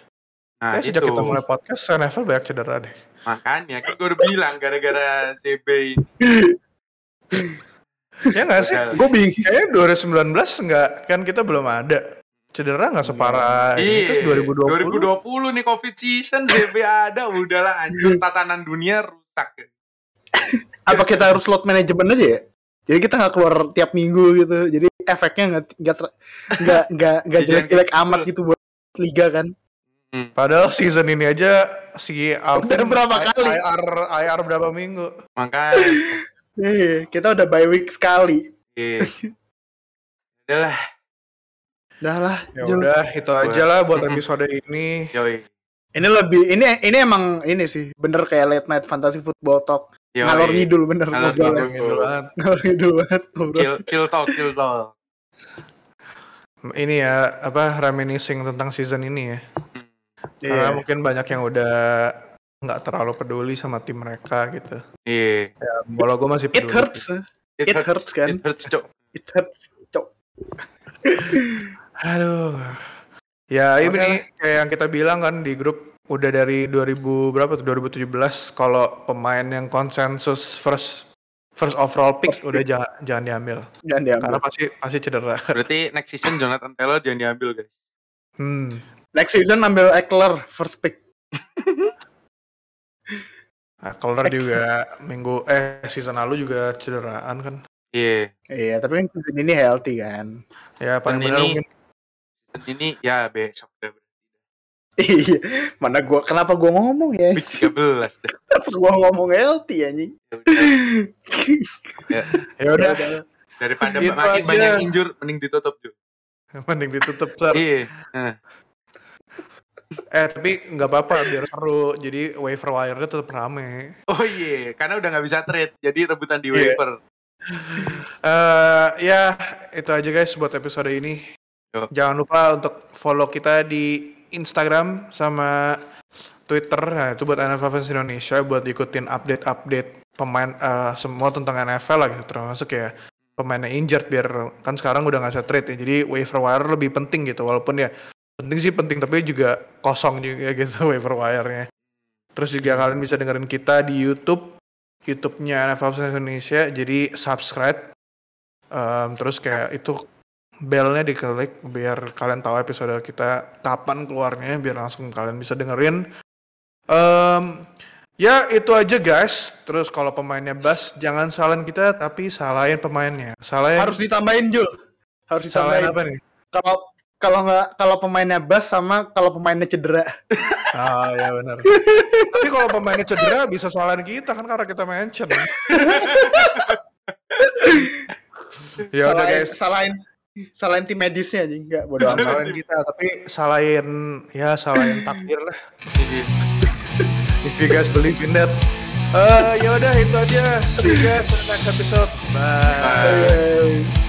S3: Nah,
S1: Kayak
S3: itu.
S1: sejak kita mulai podcast, NFL banyak cedera deh.
S3: Makanya kan gue udah bilang gara-gara CB ini.
S1: ya nggak sih?
S3: gagal.
S2: Gue bingung.
S1: Kayaknya 2019 nggak, kan kita belum ada. Cedera nggak separah Iya,
S2: Iya.
S1: ini.
S3: Iya,
S1: Terus 2020.
S3: 2020 nih COVID season CB ada udahlah anjir tatanan dunia rusak.
S2: Apa kita harus slot manajemen aja ya? Jadi kita nggak keluar tiap minggu gitu. Jadi efeknya nggak nggak ter- nggak nggak nggak
S3: Jadi
S2: jelek-jelek
S3: jangan-
S2: amat gitu buat liga kan?
S3: Hmm.
S1: Padahal season ini aja si Alvin
S2: Udah berapa
S1: I-
S2: kali?
S1: IR IR berapa minggu?
S3: Makanya
S2: Iya, kita udah bye week sekali.
S3: Iya. Udahlah,
S2: Dah lah.
S1: Ya
S2: Jul.
S1: udah, itu aja lah buat
S3: Mm-mm.
S1: episode ini.
S3: yoi.
S2: Ini lebih ini ini emang ini sih bener kayak late night fantasy football talk.
S3: Yoi.
S2: Ngalor ngidul bener
S3: Ngalor
S2: ngobrolnya.
S1: Yang ini
S3: Betul.
S1: banget.
S2: Ngalor ngidul banget ngobrol.
S3: Chill, chill talk, chill talk.
S1: Ini ya apa reminiscing tentang season ini ya.
S3: Hmm.
S1: Karena
S2: Iya.
S1: mungkin banyak yang udah nggak terlalu peduli sama tim mereka gitu.
S3: Iya.
S1: Walau gue masih
S2: It
S1: peduli.
S2: hurts. It hurts, kan?
S3: It hurts, Cok.
S2: It hurts. Cok.
S1: Aduh. Ya
S2: Oke
S1: ini nih, kayak yang kita bilang kan di grup udah dari 2000 berapa tuh 2017 kalau pemain yang konsensus first first overall pick
S2: First
S1: udah jangan jangan diambil
S2: Jangan diambil.
S1: karena pasti pasti cedera.
S3: Berarti next season Jonathan Taylor jangan diambil, guys.
S1: Hmm.
S2: Next season ambil Eckler first pick.
S1: Nah, Keller juga minggu eh season lalu juga cederaan kan.
S3: Iya.
S2: Iya, tapi kan season ini healthy kan.
S1: Ya paling
S3: Dan
S1: benar
S3: ini-
S1: mungkin
S3: Dan Ini ya besok dah.
S2: Iya, mana gua kenapa gua ngomong ya?
S3: Week 13 dah.
S2: Kenapa gua ngomong healthy anjing?
S3: Ya udah.
S1: ya udah
S3: Daripada
S1: Itu
S3: makin
S1: aja.
S3: banyak injur, mending ditutup, Cok.
S1: mending ditutup Sar.
S3: Iya.
S1: Eh tapi nggak apa-apa biar seru. Jadi waiver wire-nya tetap rame.
S3: Oh iya, karena udah nggak bisa trade, jadi rebutan di
S2: Iya.
S3: waiver.
S1: eh ya, itu aja guys buat episode ini.
S3: Yo.
S1: Jangan lupa untuk follow kita di Instagram sama Twitter. Nah, itu buat NFL Fans Indonesia buat ikutin update-update pemain eh, semua tentang NFL lah gitu termasuk ya pemainnya injured biar kan sekarang udah nggak bisa trade ya. Jadi waiver wire lebih penting gitu walaupun ya penting sih penting tapi juga ya kosong juga gitu waiver wire-nya. Terus juga kalian bisa dengerin kita di YouTube YouTube-nya NFL Fans Indonesia jadi subscribe Em, terus kayak itu belnya diklik biar kalian tahu episode kita kapan keluarnya biar langsung kalian bisa dengerin Em, ya itu aja guys terus kalau pemainnya bas jangan salahin kita tapi salahin pemainnya salahin
S2: Harus ditambahin Jul. Harus
S1: salahin
S2: ditambahin.
S1: apa nih
S2: Kalau kalau nggak kalau pemainnya bas sama kalau pemainnya cedera.
S1: ah ya benar tapi kalau pemainnya cedera bisa salahin kita kan karena kita mention ya udah
S2: Salahin-
S1: guys
S2: Salahin salahin tim medisnya anjing enggak bodo
S1: Jangan
S2: amat.
S1: salahin kita tapi salahin ya salahin takdir lah
S3: Jadi,
S1: if you guys believe in that
S2: Iya.
S1: Eh ya udah itu aja see you guys in the next episode bye.
S3: bye.
S2: Yeay.